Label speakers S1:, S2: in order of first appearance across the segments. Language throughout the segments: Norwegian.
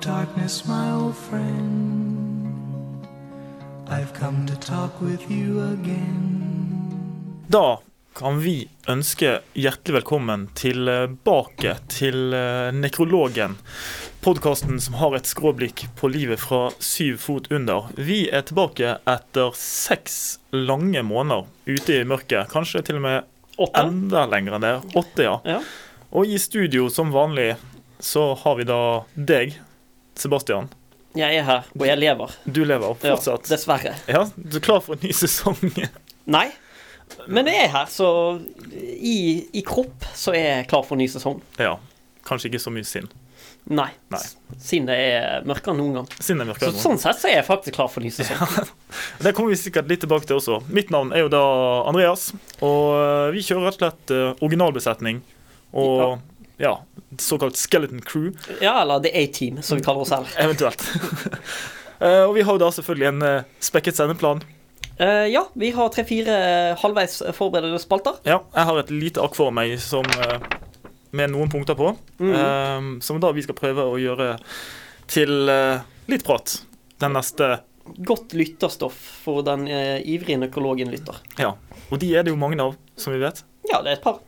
S1: darkness, my old friend. I've come to talk with you again.
S2: Da kan vi ønske hjertelig velkommen tilbake til eh, Nekrologen. Podkasten som har et skråblikk på livet fra syv fot under. Vi er tilbake etter seks lange måneder ute i mørket. Kanskje til og med
S3: Åtte.
S2: enda lenger enn det. Åtte, ja.
S3: Ja.
S2: Og i studio, som vanlig, så har vi da deg, Sebastian.
S3: Jeg er her, og jeg lever.
S2: Du lever
S3: Ja,
S2: fortsatt.
S3: dessverre.
S2: Ja, du er klar for en ny sesong?
S3: Nei. Men jeg er her, så i, i kropp så er jeg klar for en ny sesong.
S2: Ja. Kanskje ikke så mye sinn.
S3: Nei.
S2: Nei.
S3: S- Siden det er mørkere enn noen gang.
S2: Sinn er mørkere.
S3: Så,
S2: enn noen.
S3: sånn sett så er jeg faktisk klar for en ny sesong.
S2: Det kommer vi sikkert litt tilbake til også. Mitt navn er jo da Andreas, og eh, vi kjører rett og slett eh, originalbesetning og ja, såkalt skeleton crew,
S3: Ja, eller The A-Team, som vi kaller oss selv.
S2: eventuelt. Eh, og vi har jo da selvfølgelig en eh, spekket sendeplan.
S3: Eh, ja, vi har tre-fire halvveis forberedte spalter.
S2: Ja, jeg har et lite ark for meg som, eh, med noen punkter på, eh, som da vi skal prøve å gjøre til eh, litt prat den neste
S3: Godt lytterstoff for den eh, ivrige økologen lytter.
S2: Ja. Og de er det jo mange av, som vi vet.
S3: Ja, det er et par.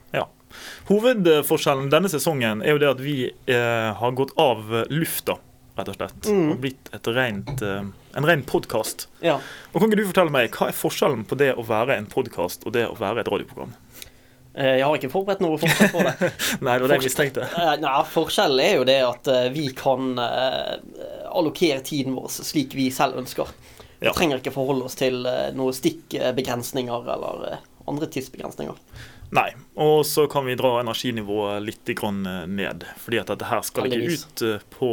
S2: Hovedforskjellen denne sesongen er jo det at vi eh, har gått av lufta, rett og slett.
S3: Mm.
S2: Og blitt et rent, eh, en ren podkast.
S3: Ja.
S2: Og kan ikke du fortelle meg, hva er forskjellen på det å være en podkast og det å være et radioprogram?
S3: Eh, jeg har ikke forberedt noe forskjell på det.
S2: Nei, det var det jeg mistenkte.
S3: Eh, Nei, Forskjellen er jo det at eh, vi kan eh, allokere tiden vår slik vi selv ønsker. Vi
S2: Ja.
S3: trenger ikke forholde oss til eh, noen stikkbegrensninger eller eh, andre tidsbegrensninger.
S2: Nei. Og så kan vi dra energinivået litt grann eh, ned, fordi at dette her skal ikke
S3: Heldigvis.
S2: ut eh, på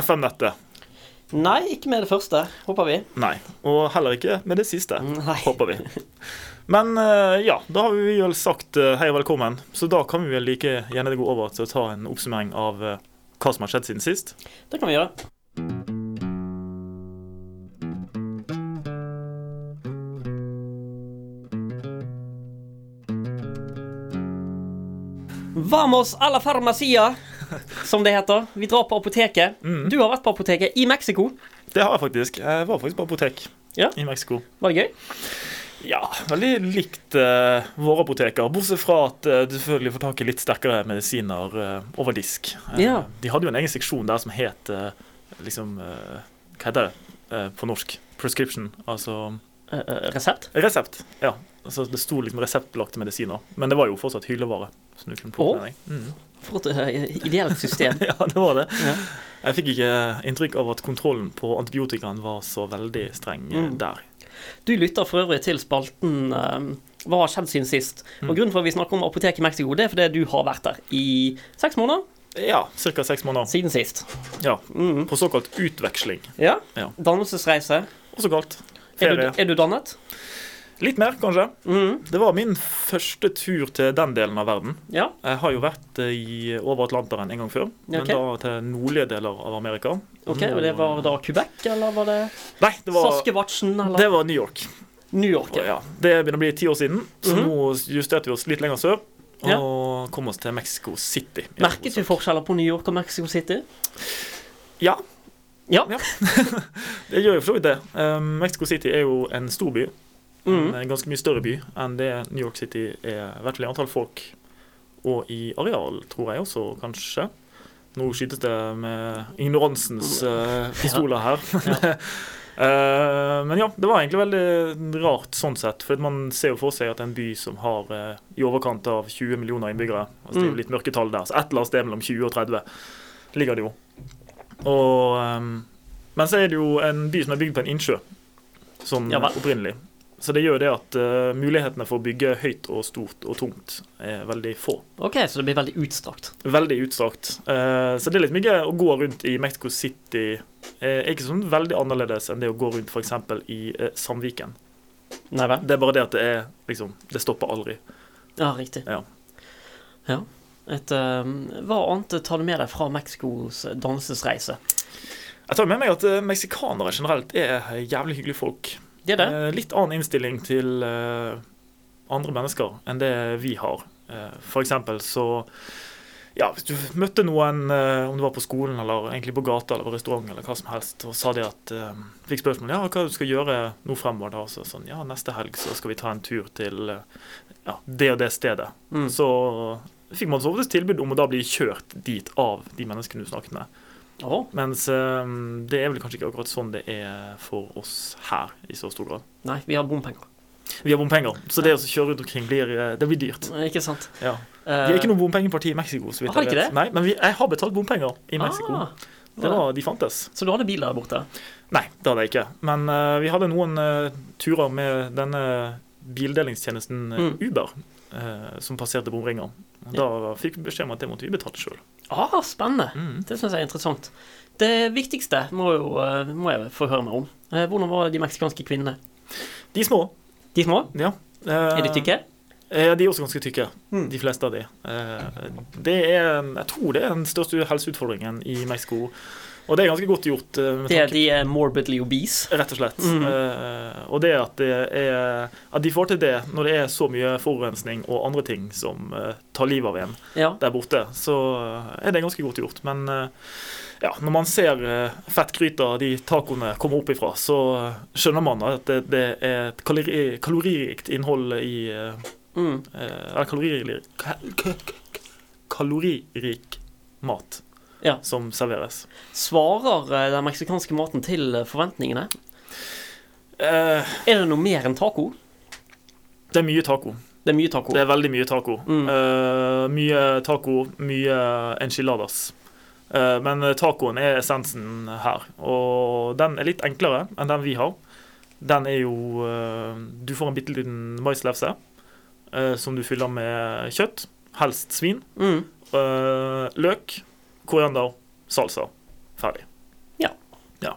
S2: FM-nettet.
S3: Nei, ikke med det første, håper vi.
S2: Nei. Og heller ikke med det siste,
S3: Nei.
S2: håper vi. Men eh, ja, da har vi vel sagt eh, hei og velkommen, så da kan vi vel like gjerne gå over til å ta en oppsummering av eh, hva som har skjedd siden sist.
S3: Det kan vi gjøre. Vamos a la farmacia, som det heter. Vi drar på apoteket. Du har vært på apoteket i Mexico.
S2: Det har jeg faktisk. Jeg var faktisk på apotek
S3: Ja.
S2: i Mexico.
S3: Var det gøy?
S2: Ja, veldig likt eh, våre apoteker, bortsett fra at eh, du selvfølgelig får tak i litt sterkere medisiner eh, over disk. Eh,
S3: Ja.
S2: De hadde jo en egen seksjon der som het eh, liksom eh, Hva heter det eh, på norsk? Prescription. Altså
S3: Eh, eh, resept?
S2: Resept, ja. Altså, det sto liksom reseptbelagte medisiner. Men det var jo fortsatt hyllevare. Så du kunne plukke
S3: Åh.
S2: med deg. Mm.
S3: For et eh, ideelt system.
S2: Ja, det var det.
S3: Ja.
S2: Jeg fikk ikke inntrykk av at kontrollen på antibiotikaen var så veldig streng eh,
S3: Mm.
S2: der.
S3: Du lytter for øvrig til spalten eh, Hva har skjedd siden sist? Og Grunnen for at vi snakker om apoteket i Mexico, det er fordi du har vært der i seks måneder
S2: Ja, ca. seks måneder.
S3: siden sist.
S2: Ja,
S3: Mhm.
S2: På såkalt utveksling.
S3: Ja.
S2: Ja.
S3: Dannelsesreise.
S2: Også kalt
S3: Er du,
S2: ferie.
S3: er du dannet?
S2: Litt mer, kanskje.
S3: Mhm.
S2: Det var min første tur til den delen av verden.
S3: Ja.
S2: Jeg har jo vært eh, i over Atlanteren en gang før, men
S3: Ok.
S2: da til nordlige deler av Amerika. Mm.
S3: Ok, og det var da Quebec, eller var det,
S2: Nei, det var,
S3: Saskewatchen, eller
S2: det var New York.
S3: New York?
S2: Og ja,
S3: Ja.
S2: det begynner å bli ti år siden, så
S3: Mhm.
S2: nå justerte vi oss litt lenger sør. Og
S3: Ja.
S2: kom oss til Mexico City.
S3: Merket du forskjeller på New York og Mexico City?
S2: Ja.
S3: Ja.
S2: Det gjør jo for så vidt det. Um, Mexico City er jo en stor by.
S3: Mhm.
S2: En ganske mye større by enn det New York City er, i hvert fall i antall folk. Og i areal, tror jeg også, kanskje. Nå skytes det med ignoransens eh, pistoler her. Eh, men ja, det var egentlig veldig rart sånn sett. For at man ser jo for seg at en by som har eh, i overkant av 20 millioner innbyggere altså Det er jo
S3: Mm.
S2: litt mørketall der, så et eller annet sted mellom 20 og 30 ligger det jo. Og, ehm, men så er det jo en by som er bygd på en innsjø, sånn
S3: Ja vel.
S2: opprinnelig. Så det gjør det at eh, mulighetene for å bygge høyt og stort og tungt er veldig få.
S3: OK, så det blir veldig utstrakt.
S2: Veldig utstrakt. Eh, så det er litt mye å gå rundt i Mexico City. eh, er ikke sånn veldig annerledes enn det å gå rundt f.eks. i eh, Sandviken.
S3: Nei vel?
S2: Det er bare det at det er liksom Det stopper aldri.
S3: Ja, riktig.
S2: Ja.
S3: Ja. Et, eh, hva annet tar du med deg fra Mexicos dannelsesreise?
S2: Jeg tar med meg at eh, meksikanere generelt er jævlig hyggelige folk.
S3: Det er det?
S2: Eh, litt annen innstilling til eh, andre mennesker enn det vi har. Eh, for eksempel så ja, hvis du møtte noen, eh, om du var på skolen eller egentlig på gata eller på restaurant eller hva som helst, og sa de at eh, Fikk spørsmål ja, hva du skal gjøre nå fremover, da? Og så sånn, ja, neste helg så skal vi ta en tur til eh, ja, det og det stedet.
S3: Mm.
S2: Så fikk man som oftest tilbud om å da bli kjørt dit av de menneskene du snakket med.
S3: Åh,
S2: Mens eh, det er vel kanskje ikke akkurat sånn det er for oss her i så stor grad.
S3: nei, vi har bompenger.
S2: Vi har bompenger, så det å kjøre rundt omkring blir, eh, det blir dyrt.
S3: Eh, Ikke sant?
S2: Ja.
S3: Eh,
S2: De er ikke noe bompengeparti i Mexico. så vidt
S3: Har
S2: jeg
S3: de
S2: vet.
S3: ikke det?
S2: Nei, men vi, jeg har betalt bompenger i Mexico.
S3: ah,
S2: det var, de fantes.
S3: Så du hadde bil der borte?
S2: Nei, det hadde jeg ikke. Men eh, vi hadde noen eh, turer med denne bildelingstjenesten eh,
S3: Mm.
S2: Uber, eh, som passerte bomringer. Og Da fikk vi beskjed om at det måtte vi betale sjøl.
S3: Ah, spennende.
S2: Mm.
S3: Det syns jeg er interessant. Det viktigste må, jo, eh, må jeg få høre mer om. Eh, Hvordan var de meksikanske kvinnene?
S2: De små,
S3: De små?
S2: ja.
S3: Er de tykke?
S2: Ja, de er også ganske tykke,
S3: Mm.
S2: de fleste av de. Eh, Det er, en- jeg tror det er den største helseutfordringen i Mexico. Og det er ganske godt gjort. eh, med
S3: De,
S2: tanke-
S3: de er morbidly obese.
S2: Rett og slett.
S3: Mhm.
S2: Eh, og det at det er At de får til det når det er så mye forurensning og andre ting som eh, tar livet av en
S3: Ja.
S2: der borte, så eh, er det ganske godt gjort. Men eh, ja, når man ser uh, fettkryta de tacoene kommer opp ifra, så eh, skjønner man at det, det er et kalori, kaloririkt innhold i eh,
S3: Mm.
S2: eh, Eller kaloririkt ka- ka- ka- Kaloririk mat
S3: Ja.
S2: som serveres.
S3: Svarer eh, den meksikanske maten til eh, forventningene?
S2: Eh,
S3: Er det noe mer enn taco?
S2: det er mye taco.
S3: Det er mye taco.
S2: Det er veldig mye taco.
S3: Mm.
S2: Eh, mye taco, mye enchiladas. Eh, men tacoen er essensen her, og den er litt enklere enn den vi har. Den er jo eh, Du får en bitte liten maislefse eh, som du fyller med kjøtt, helst svin,
S3: Mm.
S2: eh, løk, koriander, salsa. Ferdig.
S3: Ja.
S2: ja.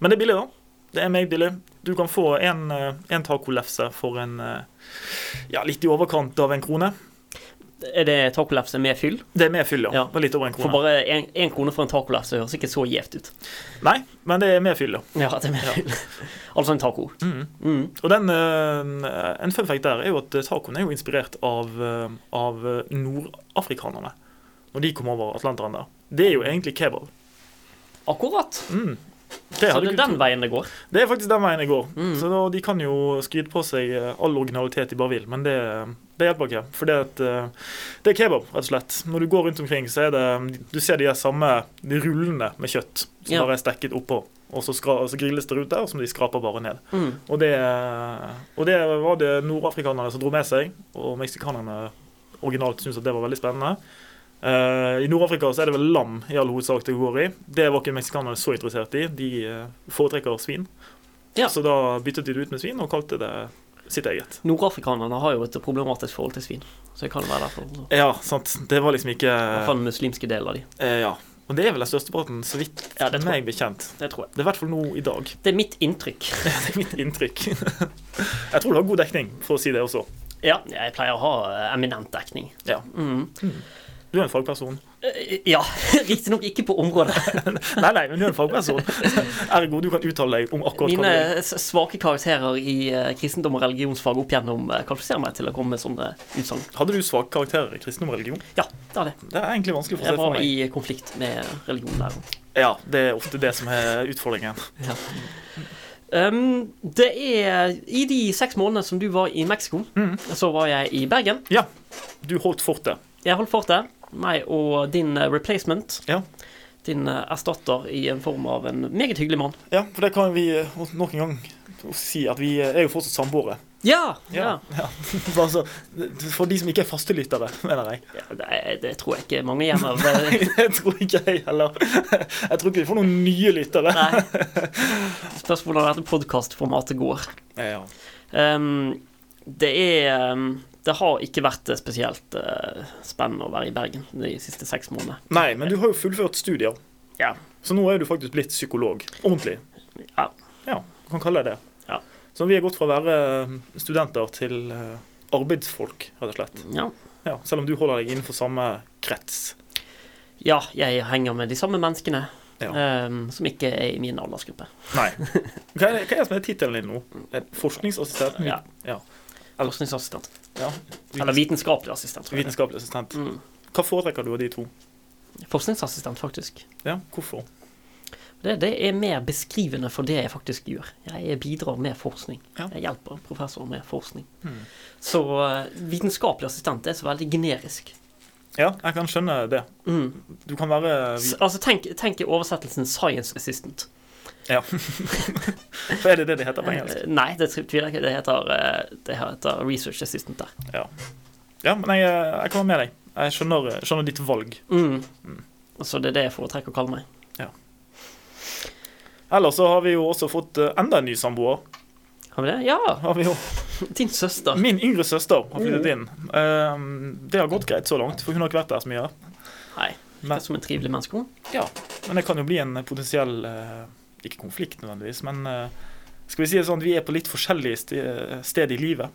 S2: Men det er billig, da. Det er meget billig. Du kan få en, eh, en tacolefse for en eh, ja, litt i overkant av en krone.
S3: Er det tacolefse med fyll?
S2: Det er med fyll, ja.
S3: Ja.
S2: Det var Litt over en
S3: For
S2: krone.
S3: bare én krone for en tacolefse høres ikke så gjevt ut.
S2: Nei, men det er med fyll, ja.
S3: Ja, det er med
S2: Ja.
S3: fyll. altså en taco.
S2: Mhm.
S3: Mm.
S2: Og den, eh, en fun fact der er jo at eh, tacoen er jo inspirert av, eh, av nordafrikanerne. Når de kom over Atlanteren der. Det er jo egentlig kebab.
S3: Akkurat.
S2: Mm.
S3: Så
S2: hadde
S3: det er
S2: ikke-
S3: den veien det går.
S2: det er faktisk den veien det går.
S3: Mhm.
S2: Så da, de kan jo skryte på seg eh, all originalitet de bare vil, men det, det hjelper ikke. For det, at, eh, det er kebab, rett og slett. Når du går rundt omkring, så er det Du ser de der samme de rullene med kjøtt som
S3: Ja.
S2: bare er stekket oppå. Og så, skra, så grilles det rundt der, og så må de skraper bare ned.
S3: Mm.
S2: Og det, og det var det nordafrikanerne som dro med seg, og meksikanerne originalt syntes at det var veldig spennende. Eh, I Nord-Afrika så er det vel lam i all hovedsak det går i. Det var ikke meksikanerne så interessert i. De eh, foretrekker svin.
S3: Ja.
S2: Så da byttet de det ut med svin og kalte det sitt eget.
S3: Nordafrikanerne har jo et problematisk forhold til svin. Så det kan være derfor. også. I
S2: Ja, sant. Det var liksom ikke
S3: hvert fall den muslimske delen av de.
S2: eh, Ja. Og det er vel den største båten, så vidt
S3: Ja, det tror jeg.
S2: meg bekjent.
S3: Det tror jeg.
S2: Det er i hvert fall nå i dag.
S3: Det er mitt inntrykk.
S2: Det er mitt inntrykk. Jeg tror du har god dekning, for å si det også.
S3: Ja, jeg pleier å ha eh, eminent dekning.
S2: Ja.
S3: Mm.
S2: Du er en fagperson.
S3: Eh, Ja, riktignok ikke på området.
S2: Nei, nei, men du er en fagperson. Ergo, du kan uttale deg om akkurat
S3: Mine
S2: hva du vil.
S3: s- svake karakterer i eh, kristendom og religionsfag opp gjennom eh, kvalifiserer meg til å komme med sånne utsagn.
S2: Hadde du svake karakterer i kristendom og religion?
S3: Ja, det er det.
S2: Det er egentlig vanskelig å få se
S3: Jeg
S2: for
S3: var
S2: meg.
S3: i konflikt med religionlæreren.
S2: Ja, det er ofte det som er utfordringen.
S3: Um, det er I de seks månedene som du var i Mexico,
S2: Mhm.
S3: så var jeg i Bergen.
S2: Ja, du holdt fortet.
S3: Jeg holdt fortet. Meg og din eh, replacement.
S2: Ja.
S3: Din eh, erstatter i en form av en meget hyggelig mann.
S2: Ja, for det kan vi eh, nok en gang si at vi eh, er jo fortsatt samboere.
S3: Ja! ja.
S2: ja. Bare så- For de som ikke er fastelyttere, mener jeg.
S3: ja det, det tror jeg ikke mange igjen av. eh,
S2: Jeg tror ikke jeg heller. Jeg tror ikke vi får noen nye lyttere.
S3: Nei. Spørs hvordan dette podkastformatet går.
S2: Ja.
S3: Ehm, det er ehm, Det har ikke vært eh, spesielt eh, spennende å være i Bergen de siste seks månedene.
S2: Nei, men du har jo fullført studier,
S3: Ja.
S2: så nå er du faktisk blitt psykolog. Ordentlig.
S3: ja.
S2: Ja, du kan kalle det det.
S3: Ja.
S2: Så vi er gått fra å være eh, studenter til eh, arbeidsfolk, rett og slett.
S3: ja.
S2: Ja, selv om du holder deg innenfor samme krets.
S3: Ja, jeg henger med de samme menneskene
S2: Ja.
S3: ehm, som ikke er i min aldersgruppe.
S2: Nei. Hva er, hva er det som er tittelen din nå? Er det Forskningsassistent?
S3: Ja.
S2: Ja.
S3: Forskningsassistent.
S2: ja.
S3: Eller vitenskapelig assistent. tror jeg.
S2: Vitenskapelig assistent.
S3: Mm.
S2: Hva foretrekker du av de to?
S3: Forskningsassistent, faktisk.
S2: Ja, hvorfor?
S3: Det, det er mer beskrivende for det jeg faktisk gjør. Jeg bidrar med forskning.
S2: Ja.
S3: Jeg hjelper professor med forskning.
S2: Hmm.
S3: Så eh, vitenskapelig assistent er så veldig generisk.
S2: Ja, jeg kan skjønne det.
S3: Mm.
S2: Du kan være
S3: S- Altså, tenk, tenk i oversettelsen 'science assistant'.
S2: Ja. For er det det det heter på engelsk?
S3: Eh, Nei, det tviler jeg ikke. Det heter, eh, det heter research assistant der.
S2: Ja, men jeg, eh, jeg kan være med deg. Jeg skjønner, skjønner ditt valg.
S3: Mm.
S2: Mm.
S3: Så det er det jeg foretrekker å kalle meg.
S2: Ellers så har vi jo også fått eh, enda en ny samboer.
S3: Har vi det? Ja!
S2: Har vi jo.
S3: Din søster.
S2: Min yngre søster har flyttet
S3: Mm.
S2: inn. Eh, Det har gått greit så langt, for hun har ikke vært der så mye.
S3: Nei.
S2: Men-
S3: Virker som en trivelig menneske. hun.
S2: Men det kan jo bli en potensiell eh, Ikke konflikt nødvendigvis, men eh, skal vi si det sånn at vi er på litt forskjellige sti- sted i livet.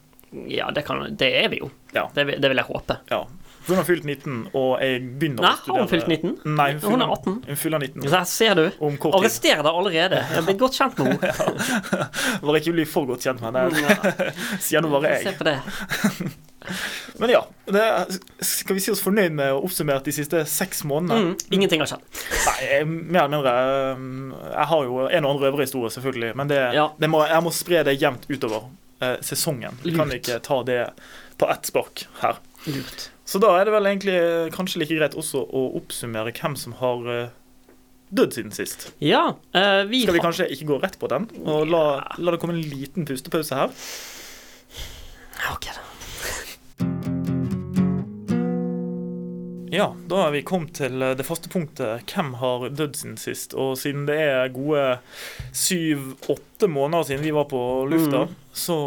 S3: Ja, det, kan, det er vi jo.
S2: Ja.
S3: Det, vil- det vil jeg håpe.
S2: Ja. For hun har fylt 19, og jeg begynner
S3: Nei,
S2: å
S3: har
S2: studere
S3: hun fylt 19?
S2: Nei, hun,
S3: Hun er
S2: fyller-
S3: 18.
S2: Hun fyller 19
S3: Der ser du.
S2: om kort tid.
S3: Arrester deg allerede. Jeg er blitt godt kjent med henne.
S2: Bare ikke bli for godt kjent med henne.
S3: Mm,
S2: Det Sier nå bare
S3: ja. Se
S2: jeg.
S3: på det.
S2: Men ja. Det er, skal vi si oss fornøyd med å oppsummere de siste seks månedene?
S3: Mm, ingenting har skjedd.
S2: Nei, jeg, mer eller mindre. um, Jeg har jo en og annen røverhistorie, selvfølgelig, men det,
S3: Ja.
S2: det må, jeg må spre det jevnt utover eh, sesongen. Vi kan
S3: Lurt.
S2: ikke ta det på ett spark her.
S3: Lurt.
S2: Så da er det vel egentlig eh, kanskje like greit også å oppsummere hvem som har eh, dødd siden sist.
S3: Ja, eh, vi
S2: Skal vi
S3: har
S2: kanskje ikke gå rett på den, og la, la det komme en liten pustepause her?
S3: Ja, ok da.
S2: Ja, da er vi kommet til eh, det faste punktet. Hvem har dødd siden sist? Og siden det er gode syv-åtte måneder siden vi var på lufta,
S3: Mhm.
S2: så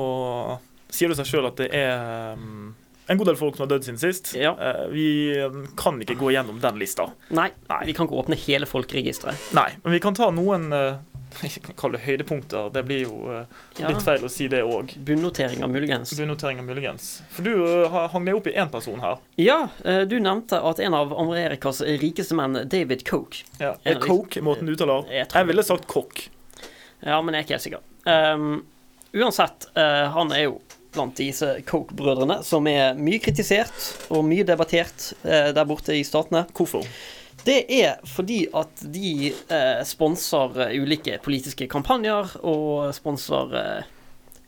S2: sier det seg sjøl at det er mm, en god del folk som har dødd siden sist.
S3: Ja.
S2: Eh, Vi mm, kan ikke gå gjennom den lista.
S3: Nei,
S2: Nei.
S3: vi kan ikke åpne hele folkeregisteret.
S2: Nei, men vi kan ta noen eh, jeg kan kalle det høydepunkter. Det blir jo eh,
S3: Ja.
S2: litt feil å si det òg.
S3: Bunnoteringer, muligens.
S2: Bunnoteringer muligens. For du eh, har- hang deg opp i én person her.
S3: Ja, eh, du nevnte at en av Amerikas rikeste menn, David Coke
S2: Ja.
S3: En
S2: Er
S3: av de-
S2: coke måten du uttaler?
S3: Jeg tror-
S2: Jeg ville sagt kokk.
S3: Ja, men jeg er ikke helt sikker. Ehm, uansett, eh, han er jo blant disse Coke-brødrene, som er mye kritisert og mye debattert eh, der borte i statene.
S2: Hvorfor?
S3: Det er fordi at de eh, sponser eh, ulike politiske kampanjer og sponser eh,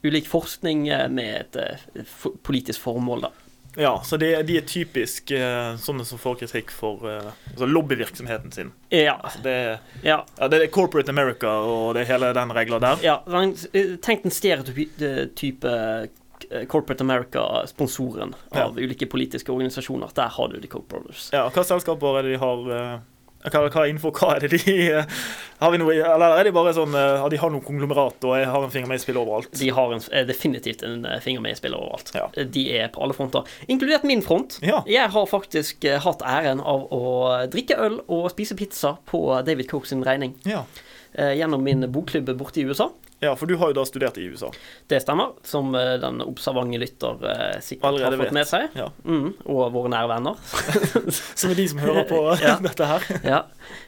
S3: ulik forskning eh, med et eh, f politisk formål, da.
S2: Ja, så det, de er typisk eh, sånne som får kritikk for eh, altså lobbyvirksomheten sin.
S3: Ja.
S2: Det, er-
S3: ja,
S2: ja, det er Corporate America og det er hele den regla der.
S3: ja den, eh, tenk den stereotype eh, Corporate America-sponsoren av ulike politiske organisasjoner. Der har du The Coke Brothers.
S2: Ja, hva selskaper er det de har eh, hva, hva innenfor hva er det de eh, Har vi noe Eller er de bare sånn eh, at de har noe konglomerat og jeg har en finger med i spillet overalt?
S3: De har en, eh, definitivt en eh, finger med i spillet overalt.
S2: Ja.
S3: Eh, De er på alle fronter, inkludert min front.
S2: Ja.
S3: Jeg har faktisk eh, hatt æren av å drikke øl og spise pizza på David Coke sin regning
S2: ja.
S3: eh, gjennom min bokklubb borte i USA.
S2: Ja, for du har jo da studert i USA.
S3: Det stemmer, som eh, den observante lytter eh, sikkert
S2: Allerede
S3: har
S2: vet.
S3: fått med seg.
S2: Ja.
S3: Mm, og våre nære venner.
S2: Som er de som hører på
S3: Ja.
S2: dette her.
S3: ja.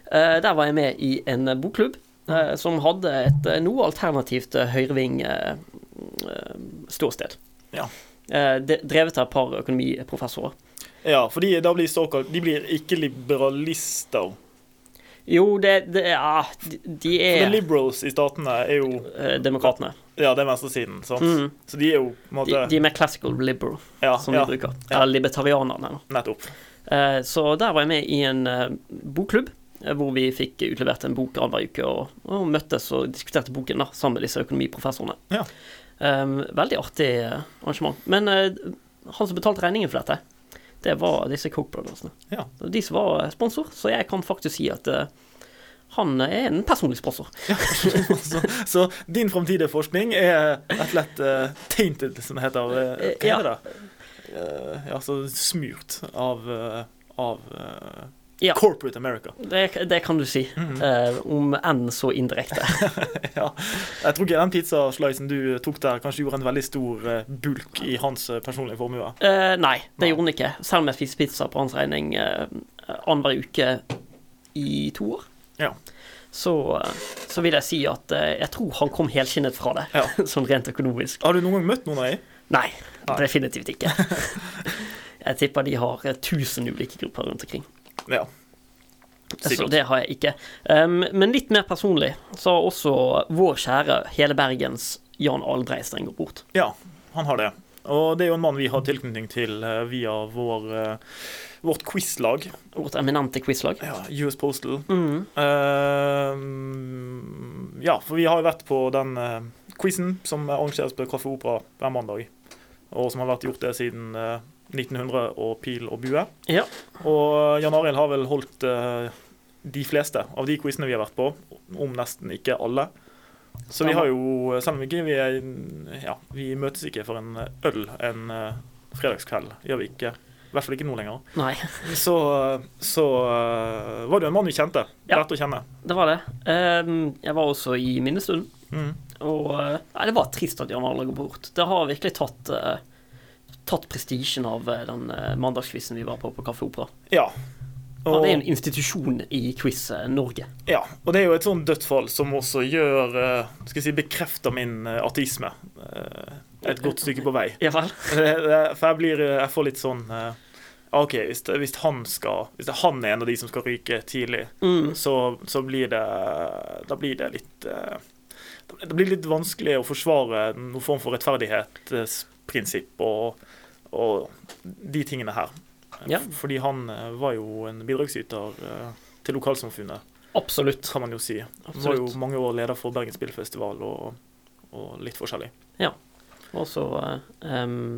S3: Eh, der var jeg med i en eh, bokklubb eh, som hadde et eh, noe alternativt eh, høyreving eh, eh, ståsted.
S2: Ja.
S3: Eh, de, drevet av et par økonomiprofessorer.
S2: Ja, for de, da blir såkalt De blir ikke liberalister.
S3: Jo, det, det Ja, de, de
S2: For
S3: er
S2: the liberals i statene er jo
S3: eh, demokratene.
S2: Ja, det er venstresiden, sant?
S3: Mm.
S2: Så de er jo på en måte
S3: De, de er mer classical liberal,
S2: ja,
S3: som
S2: ja,
S3: vi bruker.
S2: ja.
S3: Eller libertarianerne. da.
S2: Nettopp.
S3: Eh, så der var jeg med i en eh, bokklubb, eh, hvor vi fikk utlevert en bok annenhver uke, og, og møttes og diskuterte boken da, sammen med disse økonomiprofessorene.
S2: Ja.
S3: Eh, veldig artig eh, arrangement. Men eh, han som betalte regningen for dette, det var disse Coke Brothersene.
S2: Ja.
S3: Og De som var eh, sponsor, så jeg kan faktisk si at eh, han er en personlig sponsor.
S2: så, så din framtidige forskning er rett og slett eh, tainted, som det heter. eh, Hva
S3: Ja.
S2: heter det? Eh, ja, så smurt av, eh, av eh,
S3: Ja.
S2: corporate America.
S3: Det, det kan du si.
S2: Mhm.
S3: eh, om enn så indirekte.
S2: Ja. Jeg tror ikke den pizzaslicen du tok der, kanskje gjorde en veldig stor eh, bulk i hans eh, personlige formue.
S3: Eh, nei, det
S2: Nei.
S3: gjorde han ikke. Selv om jeg spiste pizza på hans regning uh, annenhver uke i to år.
S2: Ja.
S3: Så, eh, så vil jeg si at eh, jeg tror han kom helskinnet fra det,
S2: Ja.
S3: sånn rent økonomisk.
S2: Har du noen gang møtt noen av dem?
S3: Nei,
S2: Nei.
S3: definitivt ikke. Jeg tipper de har eh, 1000 ulike grupper rundt omkring.
S2: Ja.
S3: Så
S2: Sikkert.
S3: det har jeg ikke. Um, men litt mer personlig så har også vår kjære hele Bergens Jan Aldreisteng gått bort.
S2: Ja, han har det. Og det er jo en mann vi har tilknytning til eh, via vår, eh, vårt quizlag,
S3: Vårt eminente quizlag.
S2: ja, US Postal.
S3: Mm.
S2: Eh, ja, for vi har jo vært på den uh, quizen som arrangeres på Kaffe Opera hver mandag, og som har vært gjort det siden eh, 1900 og pil og bue.
S3: Ja.
S2: Og eh, Jan Arild har vel holdt eh, de fleste av de quizene vi har vært på, om nesten ikke alle. Så vi har jo, eh, selv om vi ikke vi er, ja, vi møtes ikke for en øl en eh, fredagskveld, gjør vi ikke. I hvert fall ikke nå lenger.
S3: Nei,
S2: Så, så eh, var det jo en mann vi kjente.
S3: Ja.
S2: Lærte å kjenne.
S3: det var det. Um, jeg var også i minnestunden,
S2: Mm.
S3: og eh, Nei, det var trist at Jan Arle går bort. Det har virkelig tatt eh, Tatt prestisjen av eh, den eh, mandagsquizen vi var på på Kaffe Opera.
S2: Ja.
S3: Han er en institusjon i eh, quiz-Norge.
S2: Ja, og det er jo et sånn dødsfall som også gjør eh, Skal jeg si bekrefter min eh, ateisme eh, et godt stykke på vei.
S3: Ja vel?
S2: Det- det- For jeg blir eh, Jeg får litt sånn eh, OK, hvis, det- hvis han skal Hvis det, han er en av de som skal ryke tidlig,
S3: Mm.
S2: så, så blir det Da blir det litt eh, Det blir litt vanskelig å forsvare noen form for rettferdighetsprinsipp og, og de tingene her.
S3: Ja.
S2: Fordi han eh, var jo en bidragsyter eh, til lokalsamfunnet,
S3: Absolutt.
S2: kan man jo si. Han var jo
S3: Absolutt.
S2: mange år leder for Bergen Spillfestival og, og litt forskjellig.
S3: Og så eh, um,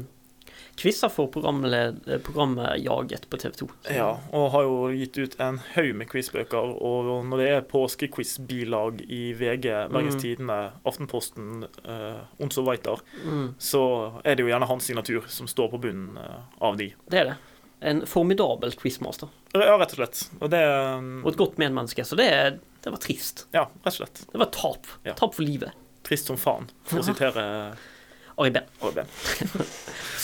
S3: quizer for programled, programmet Jaget på TV 2.
S2: Ja, og har jo gitt ut en haug med quizbøker. Og når det er påskequiz-bilag i VG, Bergens
S3: Mm.
S2: Tidende, Aftenposten, eh, Ons og Weiter,
S3: Mm,
S2: så er det jo gjerne hans signatur som står på bunnen eh, av de.
S3: det er det. En formidabel quizmaster.
S2: Ja, rett og slett. Og det
S3: Og et godt medmenneske. Så det, er- det var trist.
S2: Ja, rett og slett.
S3: Det var tap.
S2: Ja.
S3: Tap for livet.
S2: Trist som faen, for å sitere
S3: Ari Behn.
S2: Ari Behn.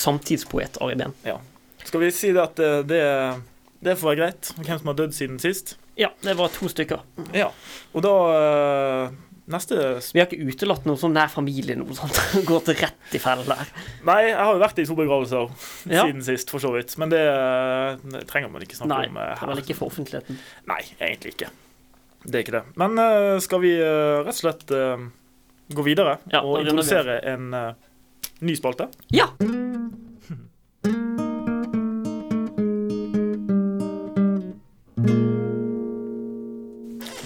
S3: Samtidspoet Ari Behn.
S2: Ja. Skal vi si det at eh, det, det får være greit, hvem som har dødd siden sist?
S3: Ja, det var to stykker.
S2: Ja. Og da eh, Neste sp
S3: Vi har ikke utelatt noe sånn nær familie noe sånt. Går til rett i fellen der.
S2: Nei, jeg har jo vært i to begravelser
S3: Ja.
S2: siden sist, for så vidt. Men det, eh, det trenger man ikke snakke
S3: Nei,
S2: om
S3: det
S2: eh,
S3: er
S2: her.
S3: vel ikke for offentligheten.
S2: Nei, egentlig ikke. Det er ikke det. Men eh, skal vi eh, rett og slett eh, gå videre
S3: Ja,
S2: og
S3: da runder vi
S2: introdusere en eh, ny spalte?
S3: Ja!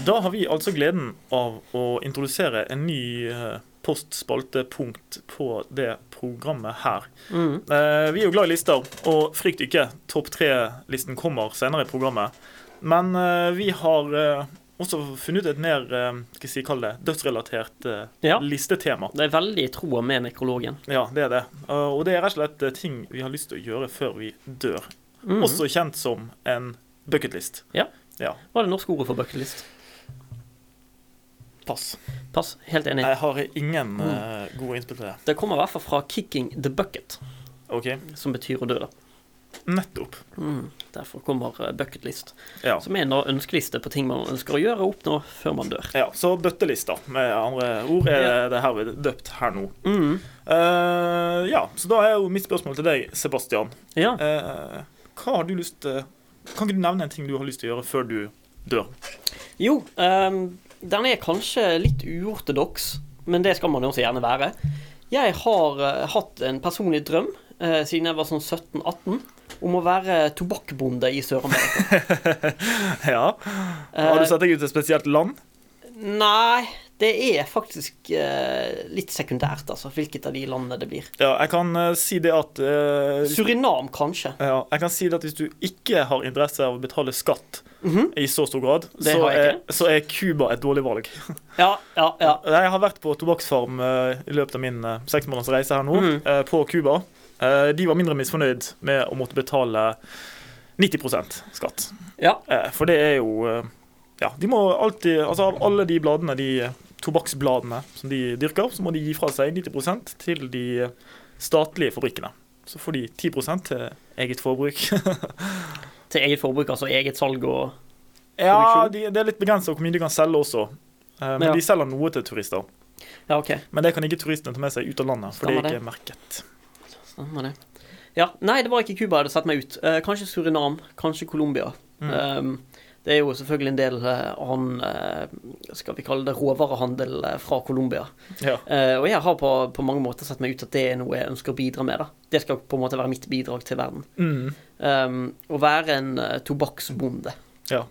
S2: Da har vi altså gleden av å introdusere en ny eh, postspaltepunkt på det programmet her.
S3: Mm.
S2: Eh, vi er jo glad i lister, og frykt ikke, topp tre-listen kommer senere i programmet. Men eh, vi har eh, også funnet et mer eh, skal jeg si, kall det, dødsrelatert eh,
S3: Ja.
S2: listetema.
S3: Det er veldig i troa med nekrologen.
S2: Ja, det er det. Eh, og det er rett og slett eh, ting vi har lyst til å gjøre før vi dør.
S3: Mhm.
S2: Også kjent som en bucketlist.
S3: Ja.
S2: ja.
S3: Hva er det norske ordet for bucketlist?
S2: Pass.
S3: Pass. Helt enig.
S2: Jeg har ingen
S3: Mm.
S2: eh, gode innspill til det.
S3: Det kommer i hvert fall fra 'kicking the bucket',
S2: OK.
S3: som betyr å dø, da.
S2: Nettopp.
S3: Derfor kommer eh, bucket list,
S2: Ja.
S3: som er en da ønskeliste på ting man ønsker å gjøre og oppnå før man dør.
S2: ja. Så bøttelista, med andre ord, er det herved døpt her nå.
S3: Mm.
S2: Eh, ja, så da er jo mitt spørsmål til deg, Sebastian.
S3: Ja.
S2: Eh, hva har du lyst til Kan ikke du nevne en ting du har lyst til å gjøre før du dør?
S3: Jo, ehm, den er kanskje litt uortodoks, men det skal man jo også gjerne være. Jeg har eh, hatt en personlig drøm eh, siden jeg var sånn 17-18 om å være tobakkbonde i Sør-Amerika.
S2: Ja. Eh. Har du sett deg ut til et spesielt land?
S3: Nei, det er faktisk eh, litt sekundært, altså, hvilket av de landene det blir.
S2: Ja, jeg kan eh, si det at eh,
S3: Surinam, kanskje.
S2: ja, Jeg kan si det at hvis du ikke har interesse av å betale skatt i så stor grad, Mhm.
S3: Det
S2: så
S3: har jeg
S2: er, så er Cuba et dårlig valg.
S3: Ja, ja, ja.
S2: Jeg har vært på tobakksfarm eh, i løpet av min uh, seksmåneders reise her nå,
S3: Mhm.
S2: eh, på Cuba. Eh, de var mindre misfornøyd med å måtte betale 90 skatt.
S3: ja.
S2: Eh, for det er jo eh, Ja, de må alltid Altså av alle de bladene, de tobakksbladene som de dyrker, så må de gi fra seg 90 til de statlige fabrikkene. Så får de 10 til eget forbruk.
S3: Til eget forbruk, altså eget salg og
S2: ja, de, det er litt begrensa hvor mye de kan selge også. Eh, men
S3: Ja.
S2: de selger noe til turister.
S3: Ja, OK.
S2: Men det kan ikke turistene ta med seg ut av landet, for
S3: Stemmer
S2: det er
S3: det.
S2: ikke merket.
S3: Stemmer det. Ja, Nei, det var ikke Cuba jeg hadde sett meg ut. Eh, kanskje Surinam, kanskje Colombia. Ehm, det er jo selvfølgelig en del eh, annen eh, Skal vi kalle det råvarehandel eh, fra Colombia.
S2: Ja.
S3: Eh, og jeg har på, på mange måter sett meg ut at det er noe jeg ønsker å bidra med. da. Det skal på en måte være mitt bidrag til verden.
S2: Mm.
S3: Ehm, å være en eh, tobakksbonde.
S2: ja.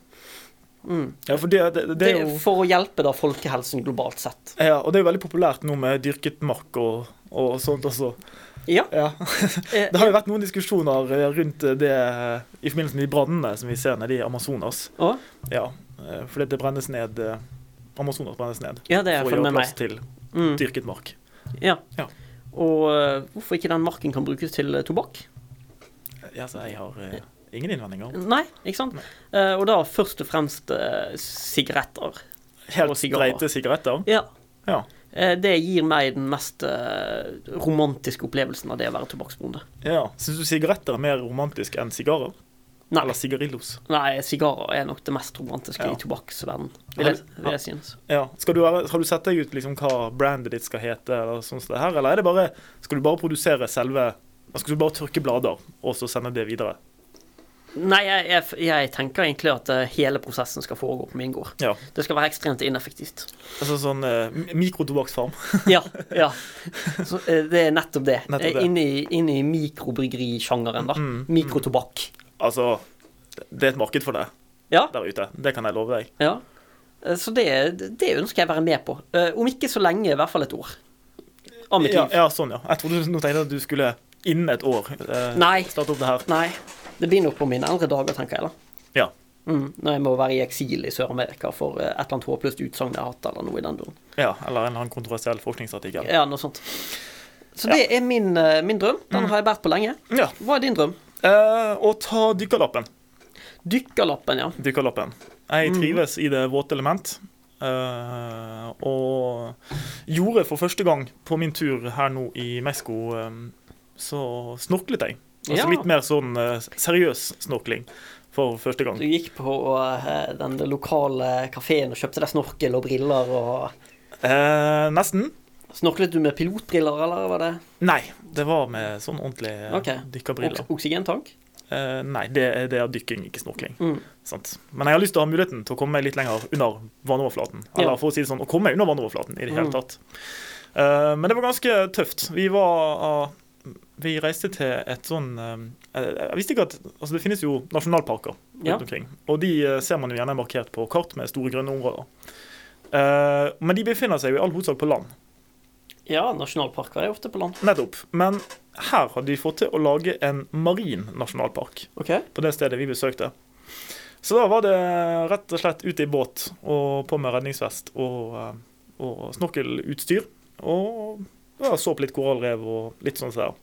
S3: Mm.
S2: Ja, for det, det, det er jo
S3: For å hjelpe da folkehelsen globalt sett.
S2: ja, Og det er jo veldig populært nå med dyrket mark og, og sånt også.
S3: Ja.
S2: Ja.
S3: eh,
S2: Det har jo vært noen diskusjoner eh, rundt det eh, i forbindelse med de brannene som vi ser nede i Amazonas.
S3: å,
S2: Ja, eh, fordi det brennes ned eh, Amazonas brennes ned
S3: ja, det
S2: for å
S3: er jeg
S2: gjøre
S3: med
S2: plass
S3: meg.
S2: til
S3: Mm.
S2: dyrket mark.
S3: Ja.
S2: Ja.
S3: Og eh, hvorfor ikke den marken kan brukes til eh, tobakk?
S2: Ja, så jeg har eh, ingen innvendinger.
S3: Nei, ikke sant?
S2: Nei.
S3: Eh, og da først og fremst eh, sigaretter. Og
S2: Helt
S3: sigarer.
S2: streite sigaretter.
S3: Ja.
S2: Ja.
S3: Eh, det gir meg den mest eh, romantiske opplevelsen av det å være tobakksbonde.
S2: ja. Syns du sigaretter er mer romantisk enn sigarer?
S3: Nei.
S2: Eller sigarillos?
S3: Nei, sigarer er nok det mest romantiske
S2: Ja.
S3: i tobakksverdenen,
S2: Har
S3: vil jeg,
S2: du-
S3: vil jeg synes.
S2: Ja. Skal du, være- har du sett deg ut liksom, hva brandet ditt skal hete, eller sånn som det her? Eller er det bare, skal du bare produsere selve Skal du bare tørke blader, og så sende det videre?
S3: Nei, jeg, jeg, jeg tenker egentlig at eh, hele prosessen skal foregå på min gård.
S2: Ja.
S3: Det skal være ekstremt ineffektivt.
S2: Altså sånn eh, mi- mikrotobakksfarm.
S3: Ja, ja. Så, eh, det er nettopp det.
S2: Nettopp det.
S3: Eh, Inn i, inn i mikrobryggerisjangeren, da.
S2: Mm,
S3: Mikrotobakk.
S2: Altså, det er et marked for det
S3: Ja.
S2: der ute. Det kan jeg love deg.
S3: ja. Eh, Så det, det ønsker jeg å være med på. Eh, Om ikke så lenge, i hvert fall et år. Av mitt
S2: Ja,
S3: liv.
S2: ja, sånn, ja. Jeg trodde du nå tenkte jeg at du skulle innen et år eh,
S3: Nei.
S2: starte opp det her.
S3: Nei. Det blir nok på mine eldre dager, tenker jeg, da.
S2: Ja.
S3: Mm, når jeg må være i eksil i Sør-Amerika for eh, et eller annet håpløst utsagn jeg har hatt, eller noe i den duren.
S2: ja. Eller en eller annen kontroversiell forskningsartikkel.
S3: Ja, noe sånt. Så det er min, eh, min drøm.
S2: Mm.
S3: Den har jeg båret på lenge.
S2: Ja.
S3: Hva er din drøm?
S2: Eh, og ta dykkerlappen.
S3: Dykkerlappen, ja.
S2: Dykkerlappen. Jeg
S3: Mm.
S2: trives i det våte element. eh, og gjorde for første gang på min tur her nå i Mexico, eh, så snorklet jeg. Altså
S3: Ja.
S2: litt mer sånn eh, seriøs snorkling for første gang.
S3: Du gikk på eh, den lokale kafeen og kjøpte deg snorkel og briller og
S2: Eh, nesten.
S3: Snorklet du med pilotbriller, eller var det
S2: Nei, det var med sånn ordentlige
S3: Ok.
S2: dykkerbriller.
S3: oks- oksygentank?
S2: Eh, nei, det, er- det er dykking, ikke snorkling.
S3: Mm.
S2: Sant? Men jeg har lyst til å ha muligheten til å komme meg litt lenger under vannoverflaten. Eller
S3: Ja.
S2: for å si det sånn, å komme meg under vannoverflaten i det hele
S3: Mm.
S2: tatt. Eh, men det var ganske tøft. Vi var eh, Vi reiste til et sånn eh, Jeg jeg visste ikke at Altså, det finnes jo nasjonalparker rundt
S3: Ja.
S2: omkring. Og de eh, ser man jo gjerne markert på kart med store grønne områder. Eh, men de befinner seg jo i all hovedsak på land.
S3: Ja, nasjonalparker er ofte på land.
S2: Nettopp. Men her hadde de fått til å lage en marin nasjonalpark
S3: Ok.
S2: på det stedet vi besøkte. Så da var det rett og slett ut i båt og på med redningsvest og, eh, og snorkelutstyr. Og ja, så på litt korallrev og litt sånn der.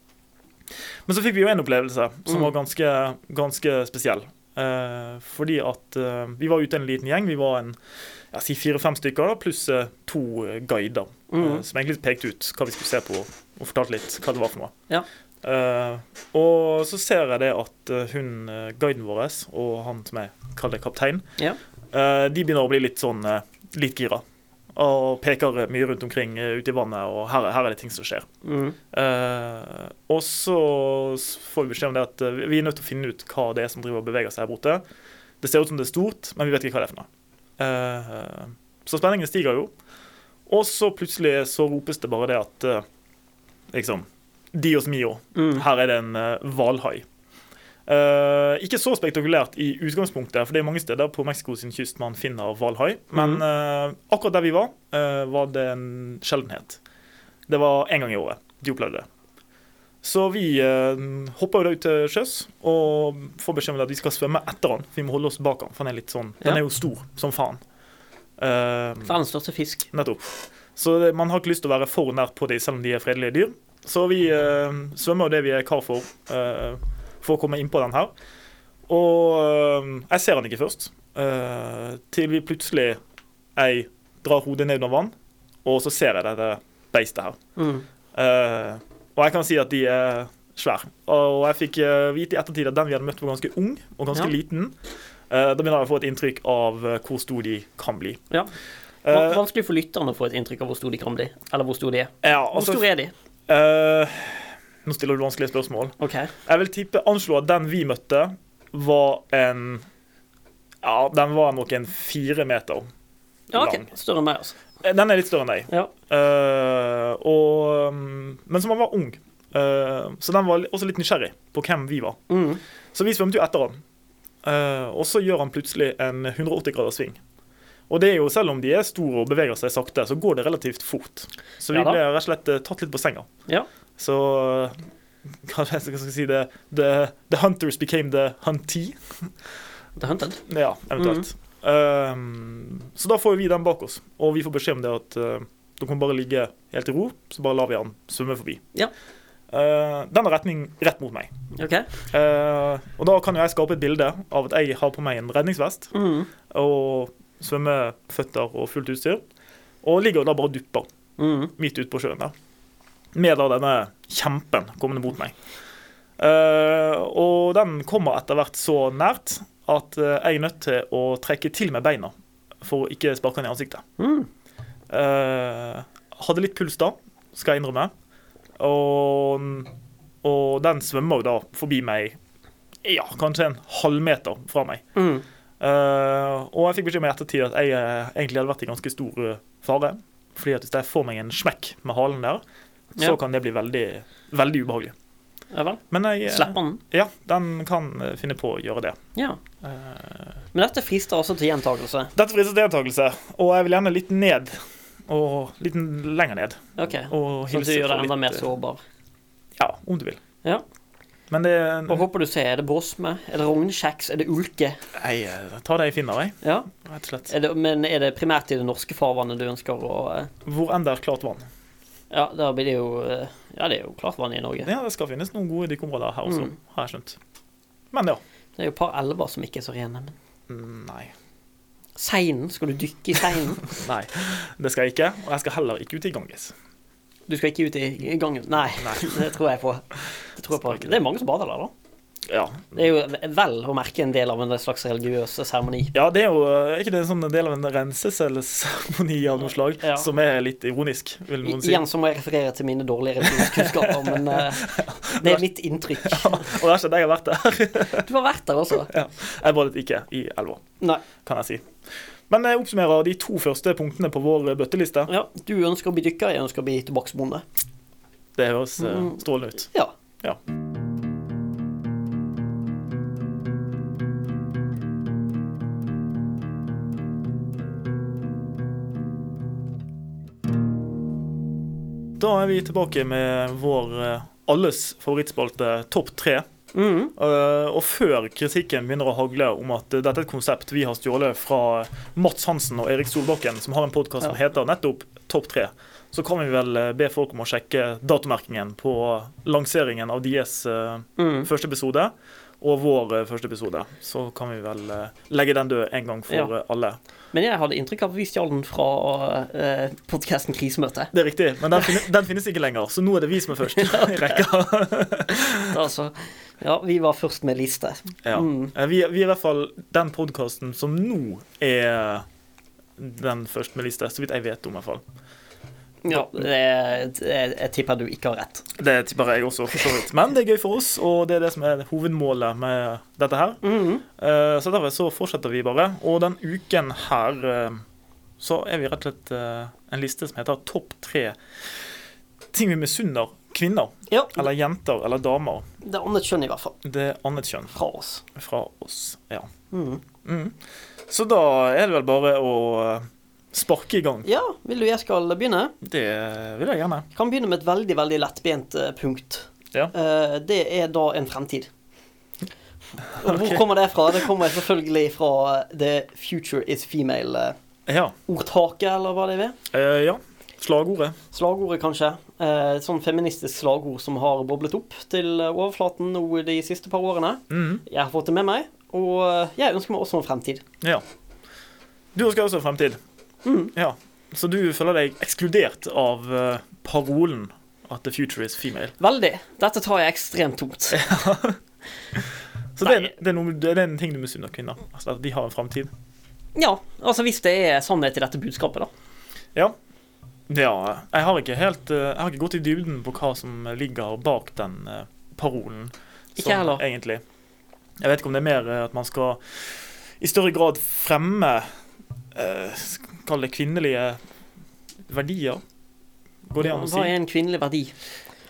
S2: Men så fikk vi jo en opplevelse som
S3: Mm.
S2: var ganske, ganske spesiell. Eh, fordi at eh, vi var ute en liten gjeng. Vi var en ja, si fire-fem stykker da, pluss eh, to eh, guider. eh,
S3: Mm.
S2: som egentlig pekte ut hva vi skulle se på, og fortalte litt hva det var for noe.
S3: Ja.
S2: Eh, og så ser jeg det at eh, hun, eh, guiden vår og han som jeg kaller kaptein,
S3: Ja.
S2: eh, de begynner å bli litt sånn eh, litt gira. Og peker mye rundt omkring eh, ute i vannet, og her, er- her er det ting som skjer.
S3: Mm.
S2: Eh, og så s- får vi beskjed om det at eh, vi er nødt til å finne ut hva det er som driver og beveger seg her borte. Det ser ut som det er stort, men vi vet ikke hva det er for noe. Eh, så spenningen stiger jo. Og så plutselig så ropes det bare det at eh, liksom Dios mio.
S3: Mm.
S2: Her er det en eh, hvalhai. Eh, ikke så spektakulært i utgangspunktet, for det er mange steder på Mexico sin kyst man finner hvalhai. Men eh, akkurat der vi var, eh, var det en sjeldenhet. Det var én gang i året de opplevde det. Så vi eh, hopper jo da ut til sjøs og får beskjed om at vi skal svømme etter han. Vi må holde oss bak han, for han er litt sånn,
S3: Ja.
S2: den er jo stor som faen. Eh,
S3: Verdens største fisk.
S2: Nettopp. Så det, man har ikke lyst til å være for nært på dem, selv om de er fredelige dyr. Så vi eh, svømmer jo det vi er kar for, eh, for å komme innpå den her. Og eh, jeg ser han ikke først, eh, til vi plutselig jeg drar hodet ned under vann, og så ser jeg dette beistet her.
S3: Mm.
S2: Eh, og jeg kan si at de er svære. Og jeg fikk eh, vite i ettertid at den vi hadde møtt, var ganske ung og ganske
S3: Ja.
S2: liten. Eh, da begynner jeg å få et inntrykk av eh, hvor stor de kan bli.
S3: Ja.
S2: Eh,
S3: Van- Vanskelig for lytterne å få et inntrykk av hvor stor de kan bli. Eller hvor stor de er.
S2: ja,
S3: Hvor
S2: altså,
S3: store er de?
S2: Eh, Nå stiller du vanskelige spørsmål.
S3: OK.
S2: Jeg vil tippe anslå at den vi møtte, var en Ja, den var nok en fire meter
S3: Ja, ok,
S2: lang.
S3: Større enn meg, altså.
S2: Eh, Den er litt større enn deg.
S3: Ja.
S2: Eh, og, mm, men som han var ung. Eh, så den var li- også litt nysgjerrig på hvem vi var.
S3: Mm.
S2: Så vi svømte jo etter han. Eh, og så gjør han plutselig en 180 graders sving. Og det er jo, selv om de er store og beveger seg sakte, så går det relativt fort. Så vi
S3: Ja da.
S2: ble rett og slett eh, tatt litt på senga.
S3: Ja.
S2: Så eh, hva er det jeg skal si det the, the hunters became the huntee.
S3: The Hunted.
S2: Ja, eventuelt.
S3: Mhm.
S2: Eh, så da får vi den bak oss, og vi får beskjed om det at eh, du kan bare ligge helt i ro, så bare lar vi han svømme forbi.
S3: Ja.
S2: Eh, den har retning rett mot meg.
S3: OK.
S2: Eh, og da kan jo jeg skape et bilde av at jeg har på meg en redningsvest
S3: Mm.
S2: og svømmeføtter og fullt utstyr, og ligger da bare og dupper
S3: Mm.
S2: midt ute på sjøen der. Med da denne kjempen kommende mot meg. Eh, og den kommer etter hvert så nært at eh, jeg er nødt til å trekke til med beina for å ikke sparke den i ansiktet.
S3: Mm.
S2: Eh, hadde litt puls da, skal jeg innrømme. Og, og den svømmer jo da forbi meg ja, kanskje en halvmeter fra meg.
S3: Mm.
S2: Eh, og jeg fikk beskjed om i ettertid at jeg eh, egentlig hadde vært i ganske stor eh, fare. Fordi at hvis jeg får meg en smekk med halen der, så
S3: Ja.
S2: kan det bli veldig, veldig ubehagelig.
S3: Ja vel.
S2: Men jeg eh,
S3: Slipper han?
S2: Ja, den kan eh, finne på å gjøre det.
S3: Ja.
S2: Eh,
S3: Men dette frister også til gjentakelse.
S2: dette frister deltakelse, og jeg vil gjerne litt ned. Og litt lenger ned.
S3: OK.
S2: Og
S3: Sånn at du gjør
S2: fra
S3: deg enda
S2: litt,
S3: mer
S2: eh,
S3: sårbar.
S2: Ja, om du vil.
S3: Ja.
S2: Men det
S3: Hva håper du ser? Er det båsme? Er det rognkjeks? Er det ulke?
S2: Jeg eh, tar det jeg finner, jeg.
S3: Ja.
S2: Rett og slett.
S3: Er det, men er det primært i det norske farvannet du ønsker å eh,
S2: Hvor enn det er klart vann.
S3: Ja, der blir det jo eh, Ja, det er jo klart vann i Norge.
S2: Ja, det skal finnes noen gode dykkeområder her også,
S3: Mm.
S2: har jeg skjønt. Men ja.
S3: Det er jo et par elver som ikke er så rene. Men
S2: Mm, Nei.
S3: seinen? Skal du dykke i seinen?
S2: Nei, det skal jeg ikke. Og jeg skal heller ikke ut i Ganges.
S3: Du skal ikke ut i i gangen? Nei.
S2: Nei.
S3: Det tror jeg på. Det tror jeg på. Det er mange som bader der, da.
S2: Ja.
S3: Det er jo vel å merke en del av en slags religiøs seremoni.
S2: ja, det er jo er ikke det en sånn del av en renselsesseremoni av noe slag,
S3: Ja.
S2: som er litt ironisk, vil
S3: I-
S2: noen si.
S3: Igjen så må jeg referere til mine dårlige religionskunnskaper, men eh, det er mitt inntrykk.
S2: Og det er ikke at jeg har vært der.
S3: Du har vært der også.
S2: Jeg badet ikke i elva,
S3: Nei.
S2: kan jeg si. Men jeg oppsummerer de to første punktene på vår bøtteliste.
S3: Ja, du ønsker å bli dykker, jeg ønsker å bli tobakksbonde.
S2: Det høres eh,
S3: Mm.
S2: strålende ut.
S3: Ja.
S2: Ja. Da er vi tilbake med vår eh, alles favorittspalte Topp tre.
S3: Mhm.
S2: Eh, og før kritikken begynner å hagle om at eh, dette er et konsept vi har stjålet fra Mats Hansen og Erik Solbakken, som har en podkast som heter nettopp Topp 3, så kan vi vel eh, be folk om å sjekke datomerkingen på lanseringen av deres eh,
S3: Mhm.
S2: første episode og vår eh, første episode. Så kan vi vel eh, legge den død en gang for
S3: Ja.
S2: eh, alle.
S3: Men jeg hadde inntrykk av at vi stjal den fra uh, podkasten Krisemøte.
S2: Det er riktig, men den, finnes, den finnes ikke lenger, så nå er det vi som er først i rekka.
S3: Altså, ja, vi var først med liste.
S2: Ja.
S3: Mm.
S2: Eh, Vi, vi er i hvert fall den podkasten som nå er den først med liste, så vidt jeg vet om i hvert fall.
S3: Ja, det, jeg, jeg tipper du ikke har rett.
S2: Det tipper jeg også, for så vidt. Men det er gøy for oss, og det er det som er hovedmålet med dette her. Eh, Så derfor så fortsetter vi bare. Og den uken her eh, så er vi rett og slett eh, en liste som heter Topp tre ting vi misunner kvinner,
S3: Ja,
S2: eller jenter, eller damer.
S3: det er annet kjønn i hvert fall.
S2: Det er annet kjønn
S3: Fra oss.
S2: fra oss. Ja.
S3: Mhm.
S2: Mm. Så da er det vel bare å eh, sparke i gang.
S3: Ja, vil du jeg skal begynne?
S2: Det vil jeg gjerne.
S3: Jeg kan begynne med et veldig, veldig lettbent eh, punkt.
S2: Ja.
S3: Eh, det er da en fremtid. Og hvor kommer det fra? Det kommer selvfølgelig fra eh, The Future is Female-ordtaket,
S2: Ja.
S3: eller hva det er.
S2: Eh, ja. Slagordet.
S3: Slagordet, kanskje. Eh, Et sånn feministisk slagord som har boblet opp til eh, overflaten nå de siste par årene.
S2: Mhm.
S3: Jeg har fått det med meg, og eh, jeg ønsker meg også en fremtid.
S2: Ja. Du ønsker også en fremtid. Ja. Så du føler deg ekskludert av eh, parolen at the future is female.
S3: Veldig. Dette tar jeg ekstremt tungt.
S2: Så det er, det, er noe, det er en ting du misunner kvinner. Altså at de har en fremtid.
S3: Ja, altså hvis det er sannhet i dette budskapet, da.
S2: Ja. Ja, jeg har ikke helt eh, Jeg har ikke gått i dybden på hva som ligger bak den eh, parolen.
S3: Ikke
S2: sånn,
S3: heller.
S2: Egentlig. Jeg vet ikke om det er mer eh, at man skal i større grad fremme eh, Kall det kvinnelige verdier. Går det an å si?
S3: Hva er en kvinnelig verdi?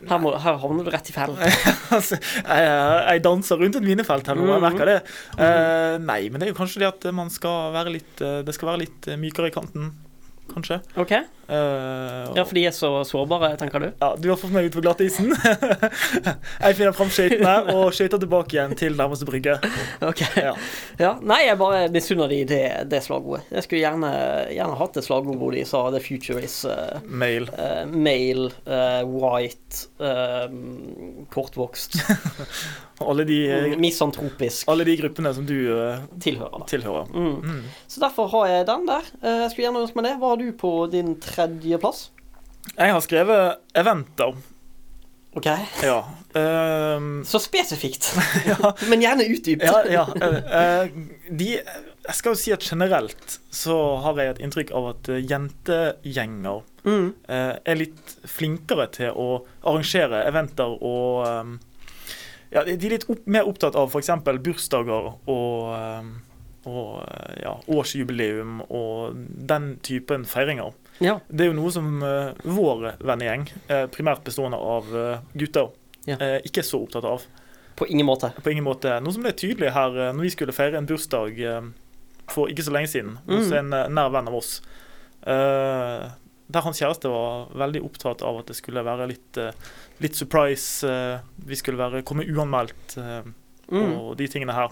S3: Her, må, her havner du rett i fellen.
S2: Altså, jeg, jeg danser rundt et minefelt her nå, jeg merker det.
S3: Mhm.
S2: Eh, nei, men det er jo kanskje det at man skal være litt eh, Det skal være litt eh, mykere i kanten, kanskje.
S3: Ok?
S2: Eh,
S3: Ja, for de er så sårbare, tenker du?
S2: ja, du har fått meg ut på glattisen. jeg finner fram skøytene og skøyter tilbake igjen til nærmeste brygge.
S3: Ok.
S2: Ja.
S3: Ja, nei, jeg bare misunner de det, det slagordet. Jeg skulle gjerne, gjerne hatt et slagord hvor de sa 'The future is eh,
S2: Mail.
S3: eh, male, eh, white, eh, kortvokst,
S2: Alle de,
S3: misantropisk
S2: alle de gruppene som du eh,
S3: tilhører'. da.
S2: tilhører.
S3: Mm.
S2: Mm.
S3: Så derfor har jeg den der. Eh, Jeg skulle gjerne ønske meg det. Hva har du på din tredjeplass?
S2: Jeg har skrevet eventer.
S3: Ok,
S2: Ja. Ehm,
S3: Så spesifikt,
S2: ja.
S3: men gjerne utdypt.
S2: Ja, ja. eh, eh, de, jeg skal jo si at generelt så har jeg et inntrykk av at eh, jentegjenger
S3: Mm.
S2: eh, er litt flinkere til å arrangere eventer og eh, ja, De de er litt opp, mer opptatt av f.eks. bursdager og, eh, og eh, ja, årsjubileum og den typen feiringer.
S3: Ja.
S2: Det er jo noe som eh, vår vennegjeng, eh, primært bestående av eh, gutter,
S3: Ja.
S2: eh, ikke er så opptatt av
S3: På ingen måte.
S2: på ingen måte. Noe som ble tydelig her eh, når vi skulle feire en bursdag eh, for ikke så lenge siden hos
S3: Mm.
S2: en eh, nær venn av oss. Eh, Der hans kjæreste var veldig opptatt av at det skulle være litt, eh, litt surprise. eh, Vi skulle være, komme uanmeldt eh,
S3: Mm.
S2: og de tingene her.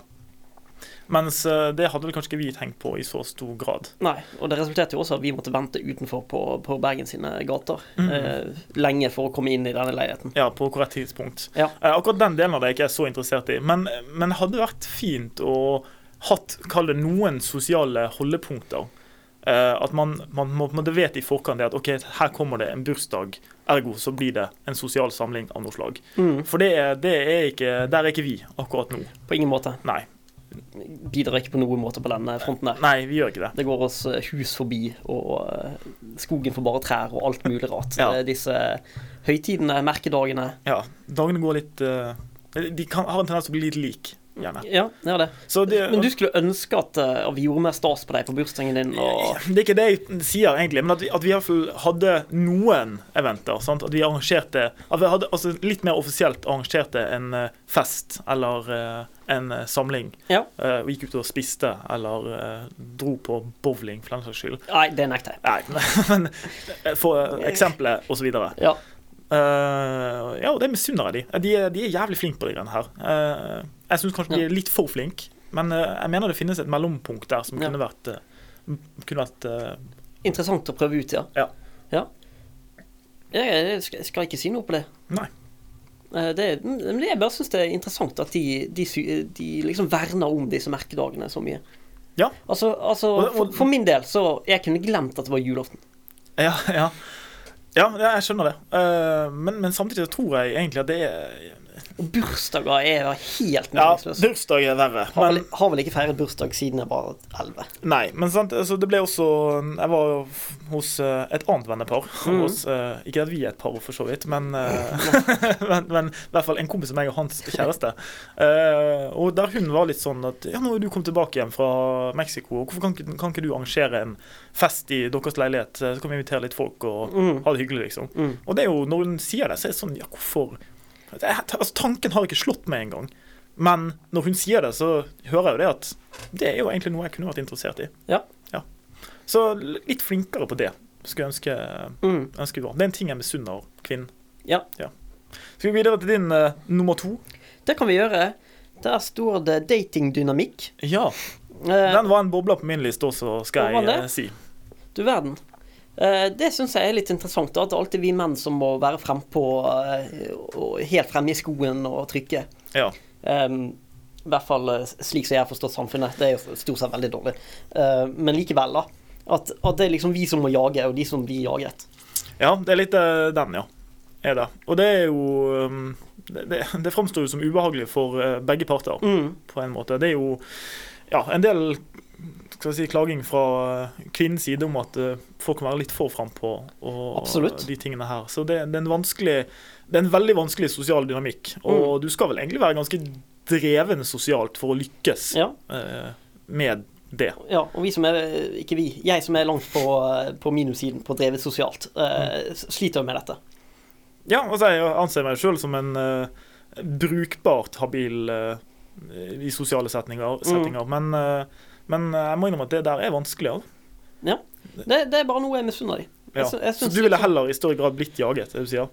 S2: Mens eh, det hadde vel kanskje ikke vi tenkt på i så stor grad.
S3: Nei, og det resulterte jo også at vi måtte vente utenfor på, på Bergen sine gater
S2: Mm.
S3: eh, lenge for å komme inn i denne leiligheten.
S2: Ja, på korrekt tidspunkt.
S3: Ja.
S2: Eh, akkurat den delen av det er ikke jeg så interessert i. Men, men hadde vært fint å hatt, kall det, noen sosiale holdepunkter. Eh, at man, man må på en måte vet i forkant det at OK, her kommer det en bursdag. Ergo så blir det en sosial samling av noe slag.
S3: Mm.
S2: For det er, det er ikke Der er ikke vi akkurat nå.
S3: På ingen måte.
S2: Nei.
S3: Bidrar ikke på noen måte på denne fronten der.
S2: Nei, vi gjør ikke det.
S3: Det går oss eh, hus forbi, og eh, skogen for bare trær, og alt mulig rart.
S2: Ja.
S3: Eh, Disse høytidene, merkedagene.
S2: Ja. Dagene går litt eh, De kan, har en tendens til å bli litt lik, gjerne.
S3: Ja, det er det.
S2: Så det,
S3: Men du skulle ønske at eh, at vi gjorde mer stas på deg på bursdagen din, og
S2: Det er ikke det jeg sier, egentlig, men at vi, at vi i hvert fall hadde noen eventer. Sant? At vi arrangerte at vi hadde, altså, Litt mer offisielt arrangerte en eh, fest eller eh, en eh, samling.
S3: Ja.
S2: Eh, og gikk ut og spiste eller eh, dro på bowling, for den saks skyld.
S3: Nei, det nekter jeg.
S2: Nei, men eh, for eh, eksempelet og så videre.
S3: Ja.
S2: Eh, ja, og det misunner jeg de. De er, de er jævlig flinke på de greiene her. Eh, jeg syns kanskje de er litt for flinke, men eh, jeg mener det finnes et mellompunkt der som
S3: Ja.
S2: kunne vært, eh, m- kunne vært eh,
S3: Interessant å prøve ut, ja.
S2: Ja.
S3: ja. Jeg, jeg skal- jeg skal ikke si noe på det.
S2: Nei.
S3: Eh, Det, er- men jeg bare syns det er interessant at de, de, sy- de liksom verner om disse merkedagene så mye.
S2: Ja.
S3: Altså, altså
S2: Og- og-
S3: for, for min del så Jeg kunne glemt at det var julaften.
S2: Ja, ja. ja ja, jeg skjønner det. Eh, men, men samtidig så tror jeg egentlig at det er
S3: Og bursdager er jo helt
S2: Ja,
S3: meningsløse.
S2: bursdag er verre.
S3: har,
S2: Men,
S3: vel- har vel ikke feiret bursdag siden jeg var elleve.
S2: nei, men sant, altså, det ble også Jeg var jo f- hos eh, et annet vennepar.
S3: Mhm.
S2: Hos, eh, ikke at vi er et par, for så vidt, men, eh, men, men i hvert fall en kompis av meg og hans kjæreste. Eh, og der hun var litt sånn at Ja, nå er du kommet tilbake igjen fra Mexico, hvorfor kan, ikke- kan ikke du arrangere en fest i deres leilighet? Eh, Så kan vi invitere litt folk og
S3: Mm.
S2: ha det hyggelig, liksom.
S3: Mm.
S2: Og det er jo, når hun sier det, så er det sånn Ja, hvorfor? Det er- Altså, tanken har ikke slått meg engang. Men når hun sier det, så hører jeg jo det at det er jo egentlig noe jeg kunne vært interessert i.
S3: Ja.
S2: Så l- litt flinkere på det skulle jeg ønske,
S3: Mm.
S2: ønske vi var. Det er en ting jeg misunner kvinnen.
S3: Ja.
S2: Skal vi videre til din eh, nummer to?
S3: Det kan vi gjøre. Der står det datingdynamikk.
S2: Ja.
S3: Eh,
S2: Den var en bobler på min liste også, skal
S3: Var
S2: jeg
S3: den
S2: eh,
S3: det?
S2: si.
S3: Du verden. Eh, Det syns jeg er litt interessant. da, At det er alltid vi menn som må være frempå eh, og helt fremme i skoen og trykke.
S2: Ja.
S3: Em, I hvert fall eh, slik som jeg har forstått samfunnet. Det er jo stort sett veldig dårlig. Eh, Men likevel, da. At, at det er liksom vi som må jage, og de som blir jaget.
S2: Ja, det er litt eh, den, ja. Er det. Og det er jo um, Det, det, det framstår jo som
S3: Mm.
S2: ubehagelig for eh, begge parter, på en måte. Det er jo ja, en del skal jeg si, klaging fra eh, kvinnens side om at eh, folk kan være litt for frampå og
S3: Absolutt.
S2: de tingene her. Så det, det er en vanskelig Det er en veldig vanskelig sosial dynamikk. Og
S3: Mm.
S2: du skal vel egentlig være ganske dreven sosialt for å lykkes
S3: Ja,
S2: eh, med det.
S3: ja, og vi som er Ikke vi. Jeg som er langt på, eh, på minussiden på drevet sosialt, eh, s- sliter jo med dette.
S2: Ja, altså jeg anser meg sjøl som en eh, brukbart habil eh, i sosiale
S3: Mm.
S2: setninger, settinger. Men, eh, men jeg må innrømme at det der er vanskelig. Altså.
S3: Det, det er bare noe jeg misunner de. Jeg
S2: Ja.
S3: sy- jeg
S2: Så
S3: syns
S2: du ville
S3: liksom-
S2: heller i større grad blitt jaget, er det du sier?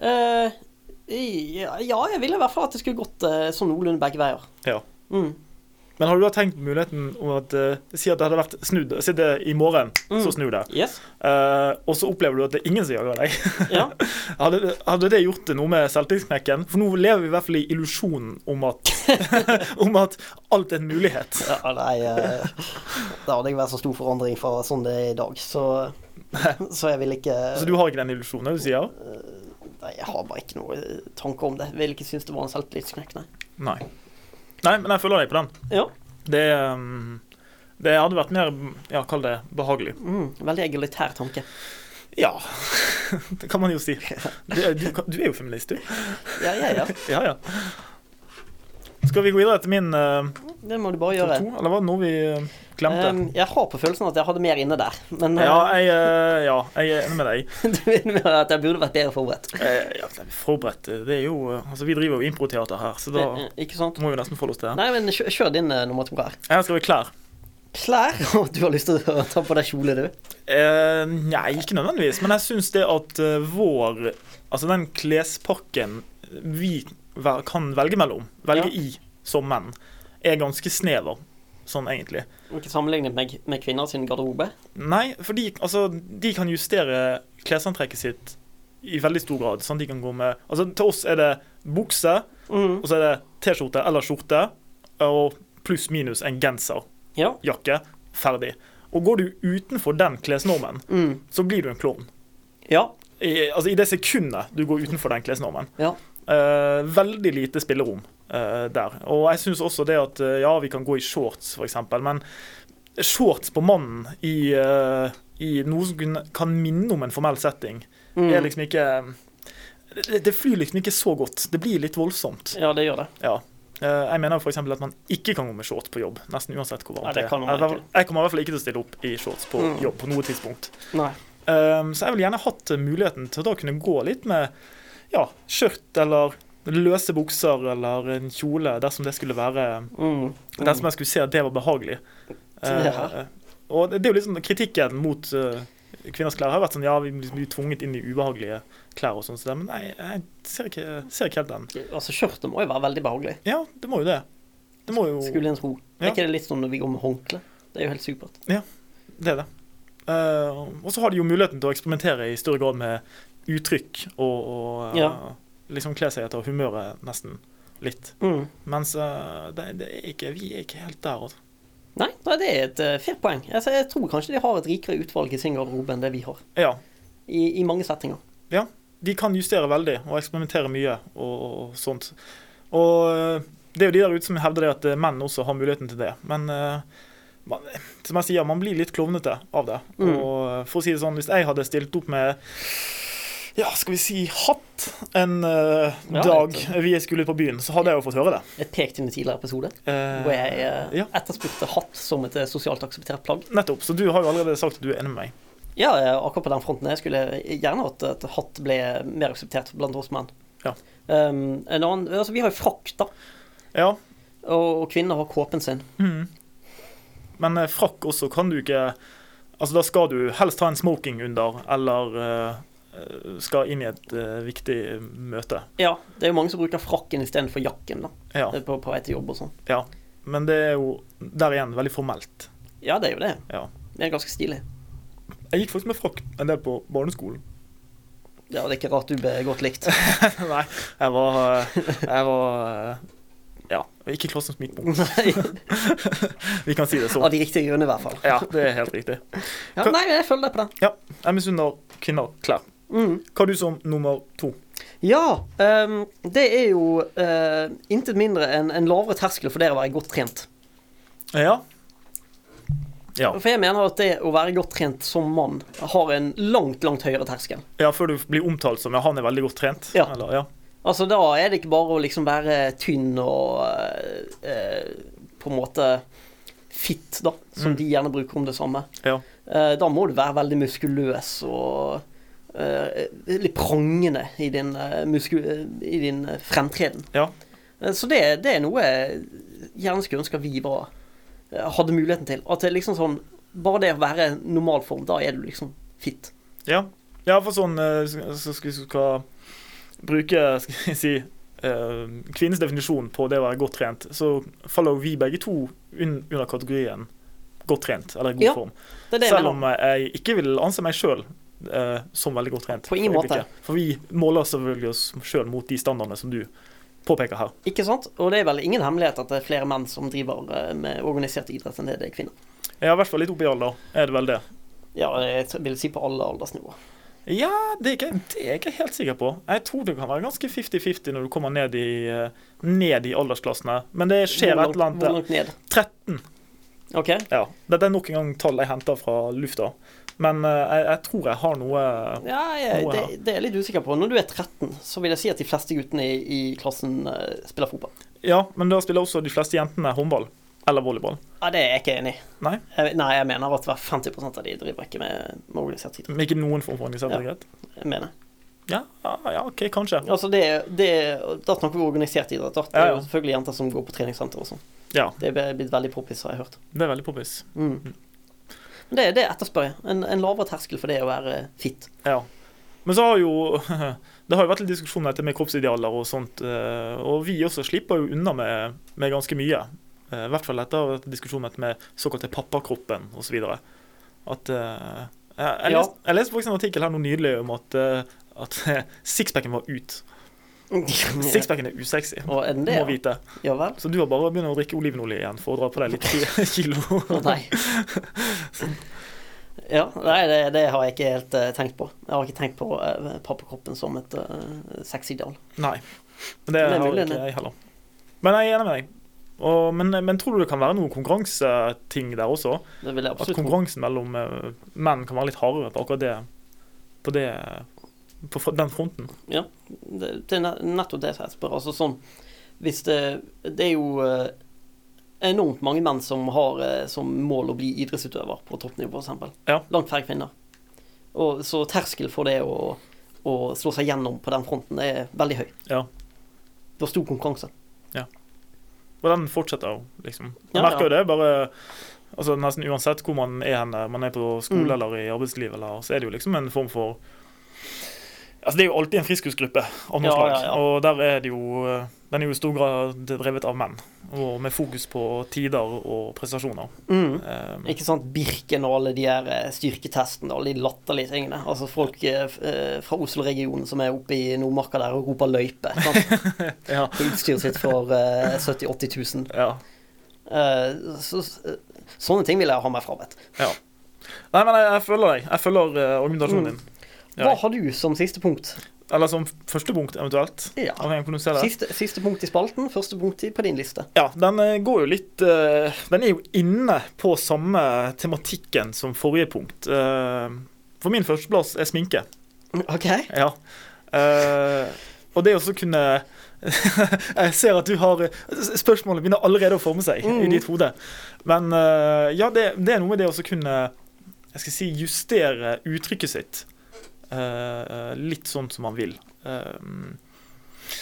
S3: Eh, ja, ja, jeg ville i hvert fall at det skulle gått eh, sånn noenlunde begge veier.
S2: Ja.
S3: Mm.
S2: Men har du da tenkt på muligheten om at eh, Si at det hadde vært snudd. Si det i morgen,
S3: Mm.
S2: så snur det.
S3: Yes.
S2: Eh, og så opplever du at det er ingen som jager deg.
S3: Ja.
S2: Hadde, hadde det gjort noe med selvtillitsknekken? For nå lever vi i hvert fall i illusjonen om at, om at alt er en mulighet.
S3: Ja, nei eh, Det hadde ikke vært så stor forandring fra sånn det er i dag, så Så jeg vil ikke
S2: Så Altså, du har ikke den illusjonen, er det du sier?
S3: Nei, jeg har bare ikke noe eh, tanke om det. Jeg vil ikke synes det var en selvtillitsknekk, nei.
S2: Nei. Nei, men jeg følger deg på den.
S3: Ja.
S2: Det, um, det hadde vært mer ja, kall det behagelig.
S3: Mm, veldig egalitær tanke.
S2: Ja. Det kan man jo si. Du, er- du, kan- du er jo feminist, du.
S3: Ja, ja, ja.
S2: Ja, ja. Skal vi gå videre til min uh,
S3: Det må du bare
S2: topp
S3: gjøre.
S2: to? Eller var det noe vi uh, glemte?
S3: Eh, jeg har på følelsen at jeg hadde mer inne der, men eh,
S2: ja, jeg, uh, ja, jeg er enig med deg.
S3: du mener at jeg burde vært bedre forberedt.
S2: Eh, ja, forberedt eh, Det er jo eh, Altså, vi driver jo improteater her, så da
S3: Eh, eh, ikke sant?
S2: må vi nesten forholde oss til det.
S3: Nei, men kjør, kjør din eh, nummer to her.
S2: Jeg har skrevet klær.
S3: Klær? Og du har lyst til å ta på deg kjole, du?
S2: Eh, nei, ikke nødvendigvis. Men jeg syns det at eh, vår Altså den klespakken vi vel- kan velge mellom, velge
S3: Ja.
S2: i som menn, er ganske snever, sånn egentlig.
S3: Ikke sammenlignet med, med kvinner sin garderobe?
S2: Nei, for de, altså, de kan justere klesantrekket sitt i veldig stor grad. Sånn at de kan gå med Altså til oss er det bukse,
S3: Mm.
S2: og så er det T-skjorte eller skjorte, og pluss minus en genser,
S3: Ja.
S2: jakke, ferdig. Og går du utenfor den klesnormen,
S3: Mm.
S2: så blir du en klovn.
S3: Ja.
S2: I, altså I det sekundet du går utenfor den klesnormen.
S3: Ja.
S2: Eh, veldig lite spillerom eh, der. Og jeg syns også det at eh, ja, vi kan gå i shorts, f.eks., men shorts på mannen i, eh, i noe som kunne- kan minne om en formell setting,
S3: Mm.
S2: er liksom ikke det, det flyr liksom ikke så godt. Det blir litt voldsomt.
S3: ja, det gjør det.
S2: Ja. Eh, jeg mener f.eks. at man ikke kan gå med shorts på jobb, nesten uansett hvor
S3: Nei,
S2: varmt
S3: det kan man
S2: Jeg-
S3: ikke.
S2: Jeg kommer i hvert fall ikke til å stille opp i shorts på
S3: Mm.
S2: jobb på noe tidspunkt.
S3: Nei.
S2: Ehm, så jeg ville gjerne hatt eh, muligheten til å da kunne gå litt med ja, skjørt eller løse bukser eller en kjole, dersom det skulle være
S3: Mm.
S2: Dersom jeg skulle se at det var behagelig. Eh,
S3: Ja.
S2: og det det er jo litt sånn kritikken mot eh, kvinners klær har vært sånn ja, vi blir tvunget inn i ubehagelige klær og sånn, så det, men nei, jeg ser ikke, ser ikke helt den.
S3: Altså, skjørtet må jo være veldig behagelig.
S2: Ja, det må jo det. Det må jo
S3: Skulle en tro.
S2: Ja.
S3: Er ikke det litt sånn når vi går med håndkle? Det er jo helt supert.
S2: Det er det. Eh, og så har de jo muligheten til å eksperimentere i større grad med uttrykk og, og eh,
S3: Ja.
S2: liksom kle seg etter humøret nesten litt.
S3: Mm.
S2: Mens eh, det, det er ikke, vi er ikke helt der. Altså.
S3: Nei, nei, det er et uh, fair poeng. Altså, jeg tror kanskje de har et rikere utvalg i sin garderobe enn det vi har.
S2: Ja,
S3: I, i mange settinger.
S2: de kan justere veldig og eksperimentere mye og, og, og sånt. Og eh, det er jo de der ute som hevder det at eh, menn også har muligheten til det. Men eh, man, som jeg sier, man blir litt klovnete av det.
S3: Mm.
S2: Og eh, for å si det sånn, hvis jeg hadde stilt opp med ja, skal vi si hatt en eh,
S3: Ja,
S2: dag
S3: litt
S2: vi skulle ut på byen, så hadde jeg jo fått høre det.
S3: Jeg pekte inn i tidligere episode
S2: Eh,
S3: hvor jeg eh,
S2: ja.
S3: etterspurte hatt som et eh, sosialt akseptert plagg.
S2: Nettopp. Så du har jo allerede sagt at du er enig med meg.
S3: Ja, eh, akkurat på den fronten. Jeg skulle gjerne hatt at hatt ble mer akseptert blant oss menn.
S2: Ja.
S3: Um, en annen, altså Vi har jo frakk, da.
S2: Ja.
S3: Og, og kvinner har kåpen sin.
S2: mhm. Men eh, frakk også kan du ikke Altså, da skal du helst ha en smoking under, eller eh, eh, skal inn i et eh, viktig møte.
S3: Ja, Det er jo mange som bruker frakken istedenfor jakken da,
S2: Ja.
S3: på, på vei til jobb og sånn.
S2: Men det er jo der igjen veldig formelt.
S3: Ja, det er jo det.
S2: Ja.
S3: Det er ganske stilig.
S2: Jeg gikk faktisk med frakk en del på barneskolen.
S3: Ja, Det er ikke rart du ble godt likt.
S2: Nei, jeg var eh, Jeg var eh, Ja, ikke klassens midtpunkt.
S3: Nei,
S2: Vi kan si det
S3: Av
S2: sånn.
S3: de riktige grunnene, i hvert fall.
S2: Ja, det er helt riktig.
S3: Ja, nei, men jeg følger deg på den.
S2: Jeg misunner kvinner klær.
S3: Mm.
S2: Hva har du som nummer to?
S3: Ja, ehm, det er jo eh, intet mindre enn en lavere terskel for dere å være godt trent.
S2: Ja. Ja.
S3: For jeg mener at det å være godt trent som mann har en langt, langt høyere terskel.
S2: ja, før du blir omtalt som ja, han er veldig godt trent.
S3: Ja.
S2: Eller, ja.
S3: Altså, da er det ikke bare å liksom være tynn og eh, på en måte fit, da, som
S2: Mm.
S3: de gjerne bruker om det samme.
S2: Ja.
S3: Eh, da må du være veldig muskuløs og eh, litt prangende i din, eh, musku, i din eh, fremtreden.
S2: Ja.
S3: Eh, så det, det er noe jeg gjerne skulle ønske at vi var, eh, hadde muligheten til. At det er liksom sånn Bare det å være normalform, da er du liksom fit.
S2: Ja, ja for sånn eh, så- så skal vi skal bruke skal jeg si, eh, kvinnens definisjon på det å være godt trent, så faller jo vi begge to un under kategorien godt trent, eller i god
S3: Ja,
S2: form.
S3: Det er det jeg
S2: Selv
S3: mener.
S2: om jeg ikke vil anse meg sjøl som veldig godt trent.
S3: På ingen
S2: for øyeblikket.
S3: måte.
S2: For vi måler selvfølgelig oss sjøl mot de standardene som du påpeker her.
S3: Ikke sant? Og det er vel ingen hemmelighet at det er flere menn som driver eh, med organisert idrett enn det det er kvinner.
S2: Ja, i hvert fall litt opp i alder, er det vel det.
S3: Ja, jeg t- vil si på alle aldersnivåer.
S2: Ja, det er, ikke, det er jeg ikke helt sikker på. Jeg tror det kan være ganske 50-50 når du kommer ned i, eh, ned i aldersklassene. Men det skjer et
S3: Hvor
S2: eller
S3: langt-
S2: annet der.
S3: Hvor langt ned?
S2: 13.
S3: OK.
S2: Ja. Dette er nok en gang tall jeg henter fra lufta. Men eh, jeg, jeg tror jeg har noe eh,
S3: Ja, jeg,
S2: Noe
S3: det,
S2: her.
S3: det er jeg litt usikker på. Når du er 13, så vil jeg si at de fleste guttene i, i klassen eh, spiller fotball.
S2: Ja, men da spiller også de fleste jentene håndball. Eller volleyball.
S3: Ja, det er jeg ikke enig i.
S2: Nei.
S3: Jeg, nei, jeg mener at hver 50 av de driver ikke med, med organisert idrett.
S2: Men ikke noen form for organisert idrett?
S3: Jeg mener.
S2: Ja. Ja, ja, OK, kanskje.
S3: Altså, det, er- det, er- da snakker vi organisert idrett. Da. Det er
S2: Ja, ja.
S3: jo selvfølgelig jenter som går på treningssenter og sånn.
S2: Ja,
S3: Det er blitt veldig poppis, har jeg hørt.
S2: Det er veldig poppis.
S3: Mm. Men Det, det etterspør jeg. En, en lavere terskel for det å være fit.
S2: Ja. Men så har jo Det har jo vært litt diskusjon om dette med kroppsidealer og sånt. eh, Og vi også slipper jo unna med, med ganske mye. Eh, I hvert fall etter diskusjonen om dette med såkalte pappakroppen osv. At eh, Jeg, jeg,
S3: Ja.
S2: leste, jeg leste faktisk en artikkel her nå nylig om at, eh, at sixpacken var ut. Sixpacken er usexy.
S3: Og er den
S2: Du
S3: det?
S2: må vite.
S3: Ja, ja vel?
S2: Så du har bare begynt å drikke olivenolje igjen for å dra på deg litt kilo.
S3: Å nei. Ja, nei, det, det har jeg ikke helt eh, tenkt på. Jeg har ikke tenkt på eh, pappakroppen som et uh, sexideal.
S2: Nei. Men det,
S3: Det er
S2: har
S3: mulig,
S2: ikke
S3: det.
S2: jeg heller. Men jeg er enig med deg. Og, men, men tror du det kan være noen konkurranseting der også?
S3: Det vil jeg
S2: At
S3: absolutt tro.
S2: konkurransen mellom eh, menn kan være litt hardere på akkurat det På det På fr- den fronten?
S3: Det, det er ne- nettopp det jeg spør. Altså sånn Hvis det Det er jo eh, enormt mange menn som har eh, som mål å bli idrettsutøver på toppnivå, f.eks.
S2: Ja.
S3: Langt færre kvinner. Og så terskel for det å, å slå seg gjennom på den fronten er veldig høy.
S2: Ja.
S3: Det var stor konkurranse.
S2: Og den fortsetter jo, liksom. Man
S3: Ja,
S2: merker jo det bare altså Nesten uansett hvor man er henne, man er på skole
S3: Mm.
S2: eller i arbeidsliv, eller, så er det jo liksom en form for Altså Det er jo alltid en friskusgruppe av noe
S3: Ja,
S2: slag,
S3: ja, ja.
S2: og der er det jo eh, den er jo i stor grad drevet av menn, og med fokus på tider og prestasjoner.
S3: Mm.
S2: Um,
S3: Ikke sant, Birken og alle de her eh, styrketestene og alle de latterlige tingene. Altså folk eh, f- eh, fra Oslo-regionen som er oppe i Nordmarka der og roper løype. Sant?
S2: ja.
S3: På utstyret sitt for eh, 70 000-80 000.
S2: ja.
S3: Eh, så, eh, sånne ting vil jeg ha meg frabedt.
S2: Nei, men jeg, jeg følger deg. Jeg følger eh, argumentasjonen
S3: Mm.
S2: din. Ja.
S3: Hva har du som siste punkt?
S2: Eller som første punkt, eventuelt.
S3: Ja.
S2: Avhengig av hvordan du ser det.
S3: Siste, siste punkt i spalten, første punkt i, på din liste.
S2: Ja, den eh, går jo litt eh, Den er jo inne på samme tematikken som forrige punkt. Eh, For min førsteplass er sminke.
S3: OK?
S2: Ja. Eh, og det å så kunne Jeg ser at du har Spørsmålet begynner allerede å forme seg i
S3: Mhm.
S2: ditt hode. Men eh, ja, det, det er noe med det å så kunne Jeg skal si justere uttrykket sitt eh, litt sånn som man vil. Eh,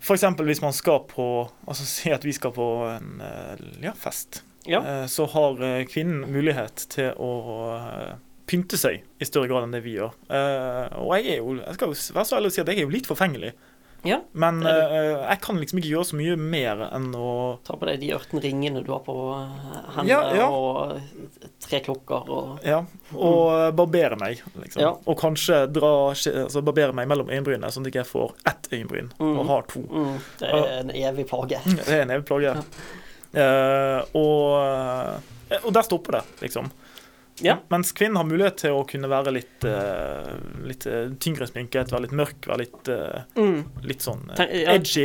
S2: for eksempel hvis man skal på Altså si at vi skal på en eh, ja, fest.
S3: Ja.
S2: Eh, Så har eh, kvinnen mulighet til å eh, pynte seg i større grad enn det vi gjør. Eh, Og jeg er jo Jeg skal jo være så ærlig å si at jeg er jo litt forfengelig.
S3: Ja,
S2: Men
S3: det er
S2: eh, jeg kan liksom ikke gjøre så mye mer enn å
S3: Ta på deg de 18 ringene du har på eh, hendene,
S2: Ja, ja.
S3: og eh, tre klokker og
S2: ja, og eh, barbere meg, liksom.
S3: Mm. Ja.
S2: Og kanskje dra, altså barbere meg mellom øyenbrynene, sånn at jeg ikke får ett øyenbryn
S3: Mhm.
S2: og har to.
S3: mm, Det er en evig plage.
S2: Mm, Det er en evig plage. Eh, og, eh, og der stopper det, liksom.
S3: Ja.
S2: Mens kvinnen har mulighet til å kunne være litt, eh, litt eh, tyngre sminket, være litt mørk, være litt, eh,
S3: Mm.
S2: litt sånn eh,
S3: Tenk- ja.
S2: edgy.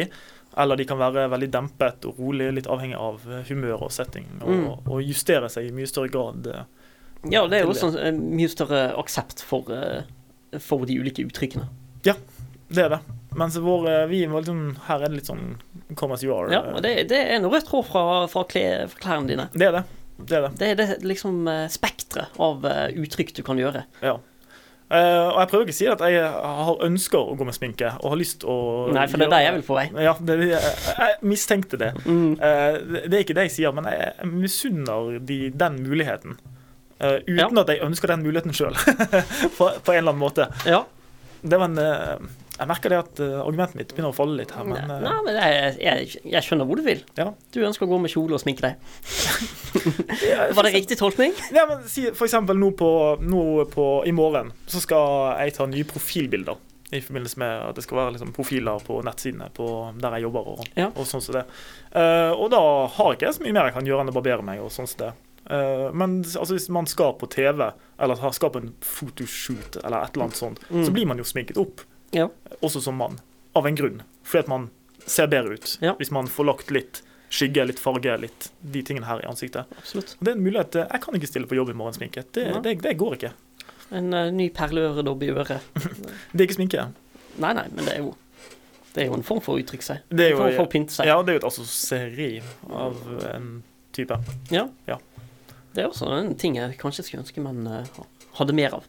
S2: Eller de kan være veldig dempet og rolig, litt avhengig av eh, humør og setting. Og,
S3: Mm.
S2: og justere seg i mye større grad. eh.
S3: Ja, det er jo også en eh, mye større aksept for, eh, for de ulike uttrykkene.
S2: Det er det. Mens vår, eh, vi var liksom, her er det litt sånn come as you are.
S3: Ja,
S2: eh.
S3: og det, det er en rød tråd fra, fra, kle, fra klærne dine.
S2: det er det. Det er det.
S3: Det er det liksom eh, spektret av eh, uttrykk du kan gjøre.
S2: Ja. Eh, og jeg prøver ikke å si at jeg har ønsker å gå med sminke, og har lyst å
S3: Nei, for det er der jeg vil på vei.
S2: Ja, det, jeg, jeg mistenkte det.
S3: Mm.
S2: Eh, det- det er ikke det jeg sier, men jeg jeg misunner de den muligheten. Eh, uten at jeg ønsker den muligheten sjøl, på, på en eller annen måte.
S3: Ja.
S2: Det var en, eh, jeg merker det at eh, argumentet mitt begynner å falle litt her, men
S3: Nei,
S2: eh,
S3: nei, men jeg, jeg, jeg skjønner hvor du vil.
S2: Ja.
S3: Du ønsker å gå med kjole og sminke deg.
S2: ja,
S3: Var det riktig tolkning?
S2: Ja, men si for eksempel nå på, nå på i morgen så skal jeg ta nye profilbilder. I forbindelse med at det skal være liksom, profiler på nettsidene på der jeg jobber. Og,
S3: Ja.
S2: og sånn som det. Eh, og da har ikke jeg så mye mer jeg kan gjøre enn å barbere meg. og sånn som det. Eh, men altså, hvis man skal på TV, eller har- skal på en photoshoot, eller et eller annet sånt,
S3: Mm.
S2: så blir man jo sminket opp,
S3: Ja.
S2: også som mann. Av en grunn. Fordi at man ser bedre ut
S3: Ja.
S2: hvis man får lagt litt skygge, litt farge, litt de tingene her i ansiktet.
S3: Absolutt.
S2: Og Det er en mulighet. eh, Jeg kan ikke stille på jobb i morgen sminket. Det,
S3: Nei.
S2: det, det går ikke.
S3: En eh, ny perleøredobb i øret.
S2: Det er ikke sminke.
S3: Nei, nei, men det er jo Det er jo en form for å uttrykke seg.
S2: Det er
S3: en form
S2: jo,
S3: for å pynte seg.
S2: ja, det er jo et assosieri av eh, en type.
S3: Ja.
S2: Ja.
S3: Det er også en ting jeg kanskje skulle ønske man eh, hadde mer av.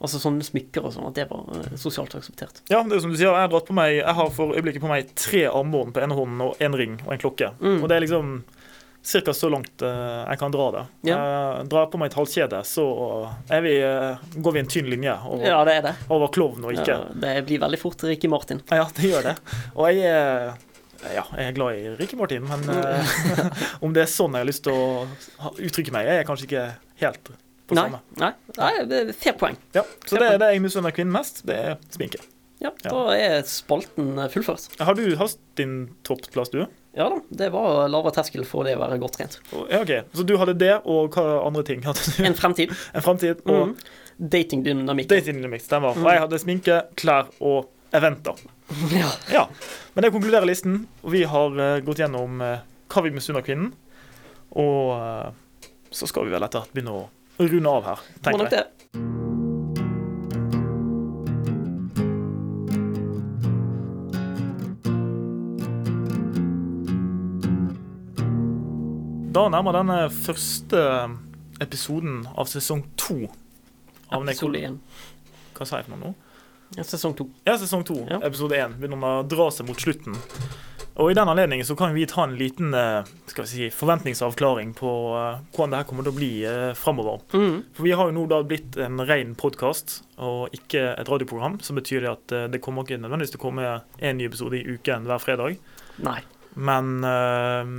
S3: Altså sånne smykker og sånn, at det var eh, sosialt akseptert.
S2: Ja, det er som du sier, jeg har, dratt på meg, jeg har for øyeblikket på meg tre armbånd på ene hånden og en ring og en klokke.
S3: Mm.
S2: Og det er liksom ca. så langt eh, jeg kan dra det. Eh, drar jeg på meg et halskjede, så er vi, eh, går vi en tynn linje over,
S3: Ja, det er det.
S2: over klovn og ikke.
S3: Ja, det blir veldig fort Ricky Martin.
S2: Ja, det gjør det. Og jeg er, ja, jeg er glad i Ricky Martin, men
S3: Mm.
S2: eh, om det er sånn jeg har lyst til å ha- uttrykke meg, jeg er kanskje ikke helt på
S3: Nei,
S2: samme.
S3: nei, nei, det er fair poeng.
S2: Ja, så det er det jeg misunner kvinnen mest, det er sminke.
S3: Ja,
S2: Ja.
S3: Da er spalten eh, fullført.
S2: Har du hatt din toppplass, du?
S3: Ja da, det var lavere terskel for det å være godt trent.
S2: Og- Ja, ok. Så du hadde det, og hva andre ting hadde du?
S3: En fremtid.
S2: En framtid og
S3: Mm. Datingdynamikk.
S2: datingen stemmer. Og jeg hadde sminke, klær og eventer.
S3: Ja.
S2: Ja, men det konkluderer listen. Og vi har eh, gått gjennom eh, hva vi misunner kvinnen. Og eh, så skal vi vel etter hvert begynne å runde av her,
S3: Må
S2: tenker jeg.
S3: nok det.
S2: Da nærmer denne første eh, episoden av sesong to av Nekro...
S3: Episode én.
S2: Hva sa jeg for noe nå?
S3: Ja, Sesong to.
S2: Ja, sesong to,
S3: Ja.
S2: episode én, begynner å dra seg mot slutten. Og i den anledning så kan vi ta en liten eh, skal vi si, forventningsavklaring på eh, hvordan det her kommer til å bli eh, framover.
S3: Mm.
S2: For vi har jo nå da blitt en ren podkast og ikke et radioprogram, som betyr det at eh, det kommer ikke nødvendigvis til å komme en ny episode i uken hver fredag.
S3: Nei.
S2: Men eh,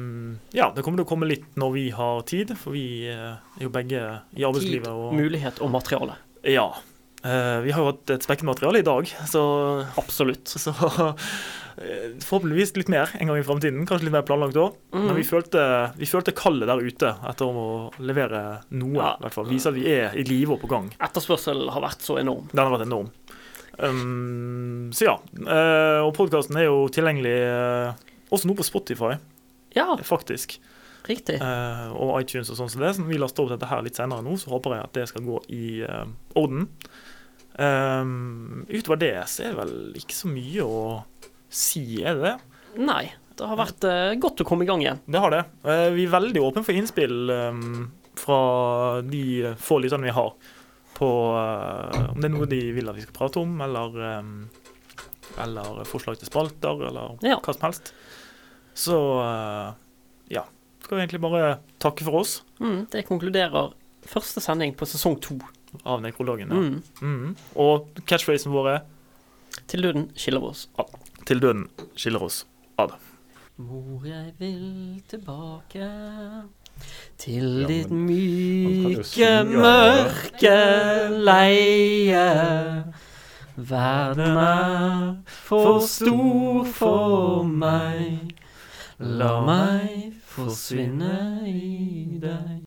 S2: ja, det kommer til å komme litt når vi har tid, for vi eh, er jo begge i
S3: Tid,
S2: arbeidslivet og
S3: mulighet og materiale.
S2: Ja. Eh, vi har jo hatt et spekket materiale i dag, så,
S3: Absolutt.
S2: så eh, Forhåpentligvis litt mer en gang i framtiden. Kanskje litt mer planlagt òg. Men
S3: Mm.
S2: vi følte, vi følte kallet der ute etter å levere noe.
S3: Ja.
S2: i hvert fall. Vise at vi er i live og på gang.
S3: Etterspørselen har vært så enorm.
S2: Den har vært enorm. Um, så ja. eh, og podkasten er jo tilgjengelig eh, også nå på Spotify,
S3: Ja,
S2: faktisk.
S3: riktig.
S2: Eh, og iTunes og sånn som det. Så når vi laster opp dette her litt senere nå, så håper jeg at det skal gå i eh, orden. Um, utover det så er det vel ikke så mye å si, er det det?
S3: Nei. Det har vært eh, godt å komme i gang igjen.
S2: Det har det. Eh, vi er veldig åpne for innspill um, fra de få lytterne vi har, på eh, om det er noe de vil at vi skal prate om, eller, um, eller forslag til spalter, eller
S3: Ja.
S2: hva som helst. Så eh, ja. Skal vi egentlig bare takke for oss
S3: Mm, det konkluderer første sending på sesong to.
S2: av Nekrologene.
S3: Mm.
S2: Mhm. Og catchphrasen vår er
S3: Til døden skiller vi oss ad.
S2: 'Til døden skiller oss'.
S3: Mor, jeg vil tilbake til
S4: Ja,
S3: ditt
S4: kan jo
S3: myke,
S4: synge,
S3: mørke leie. Verden er for stor for meg. La meg forsvinne i deg.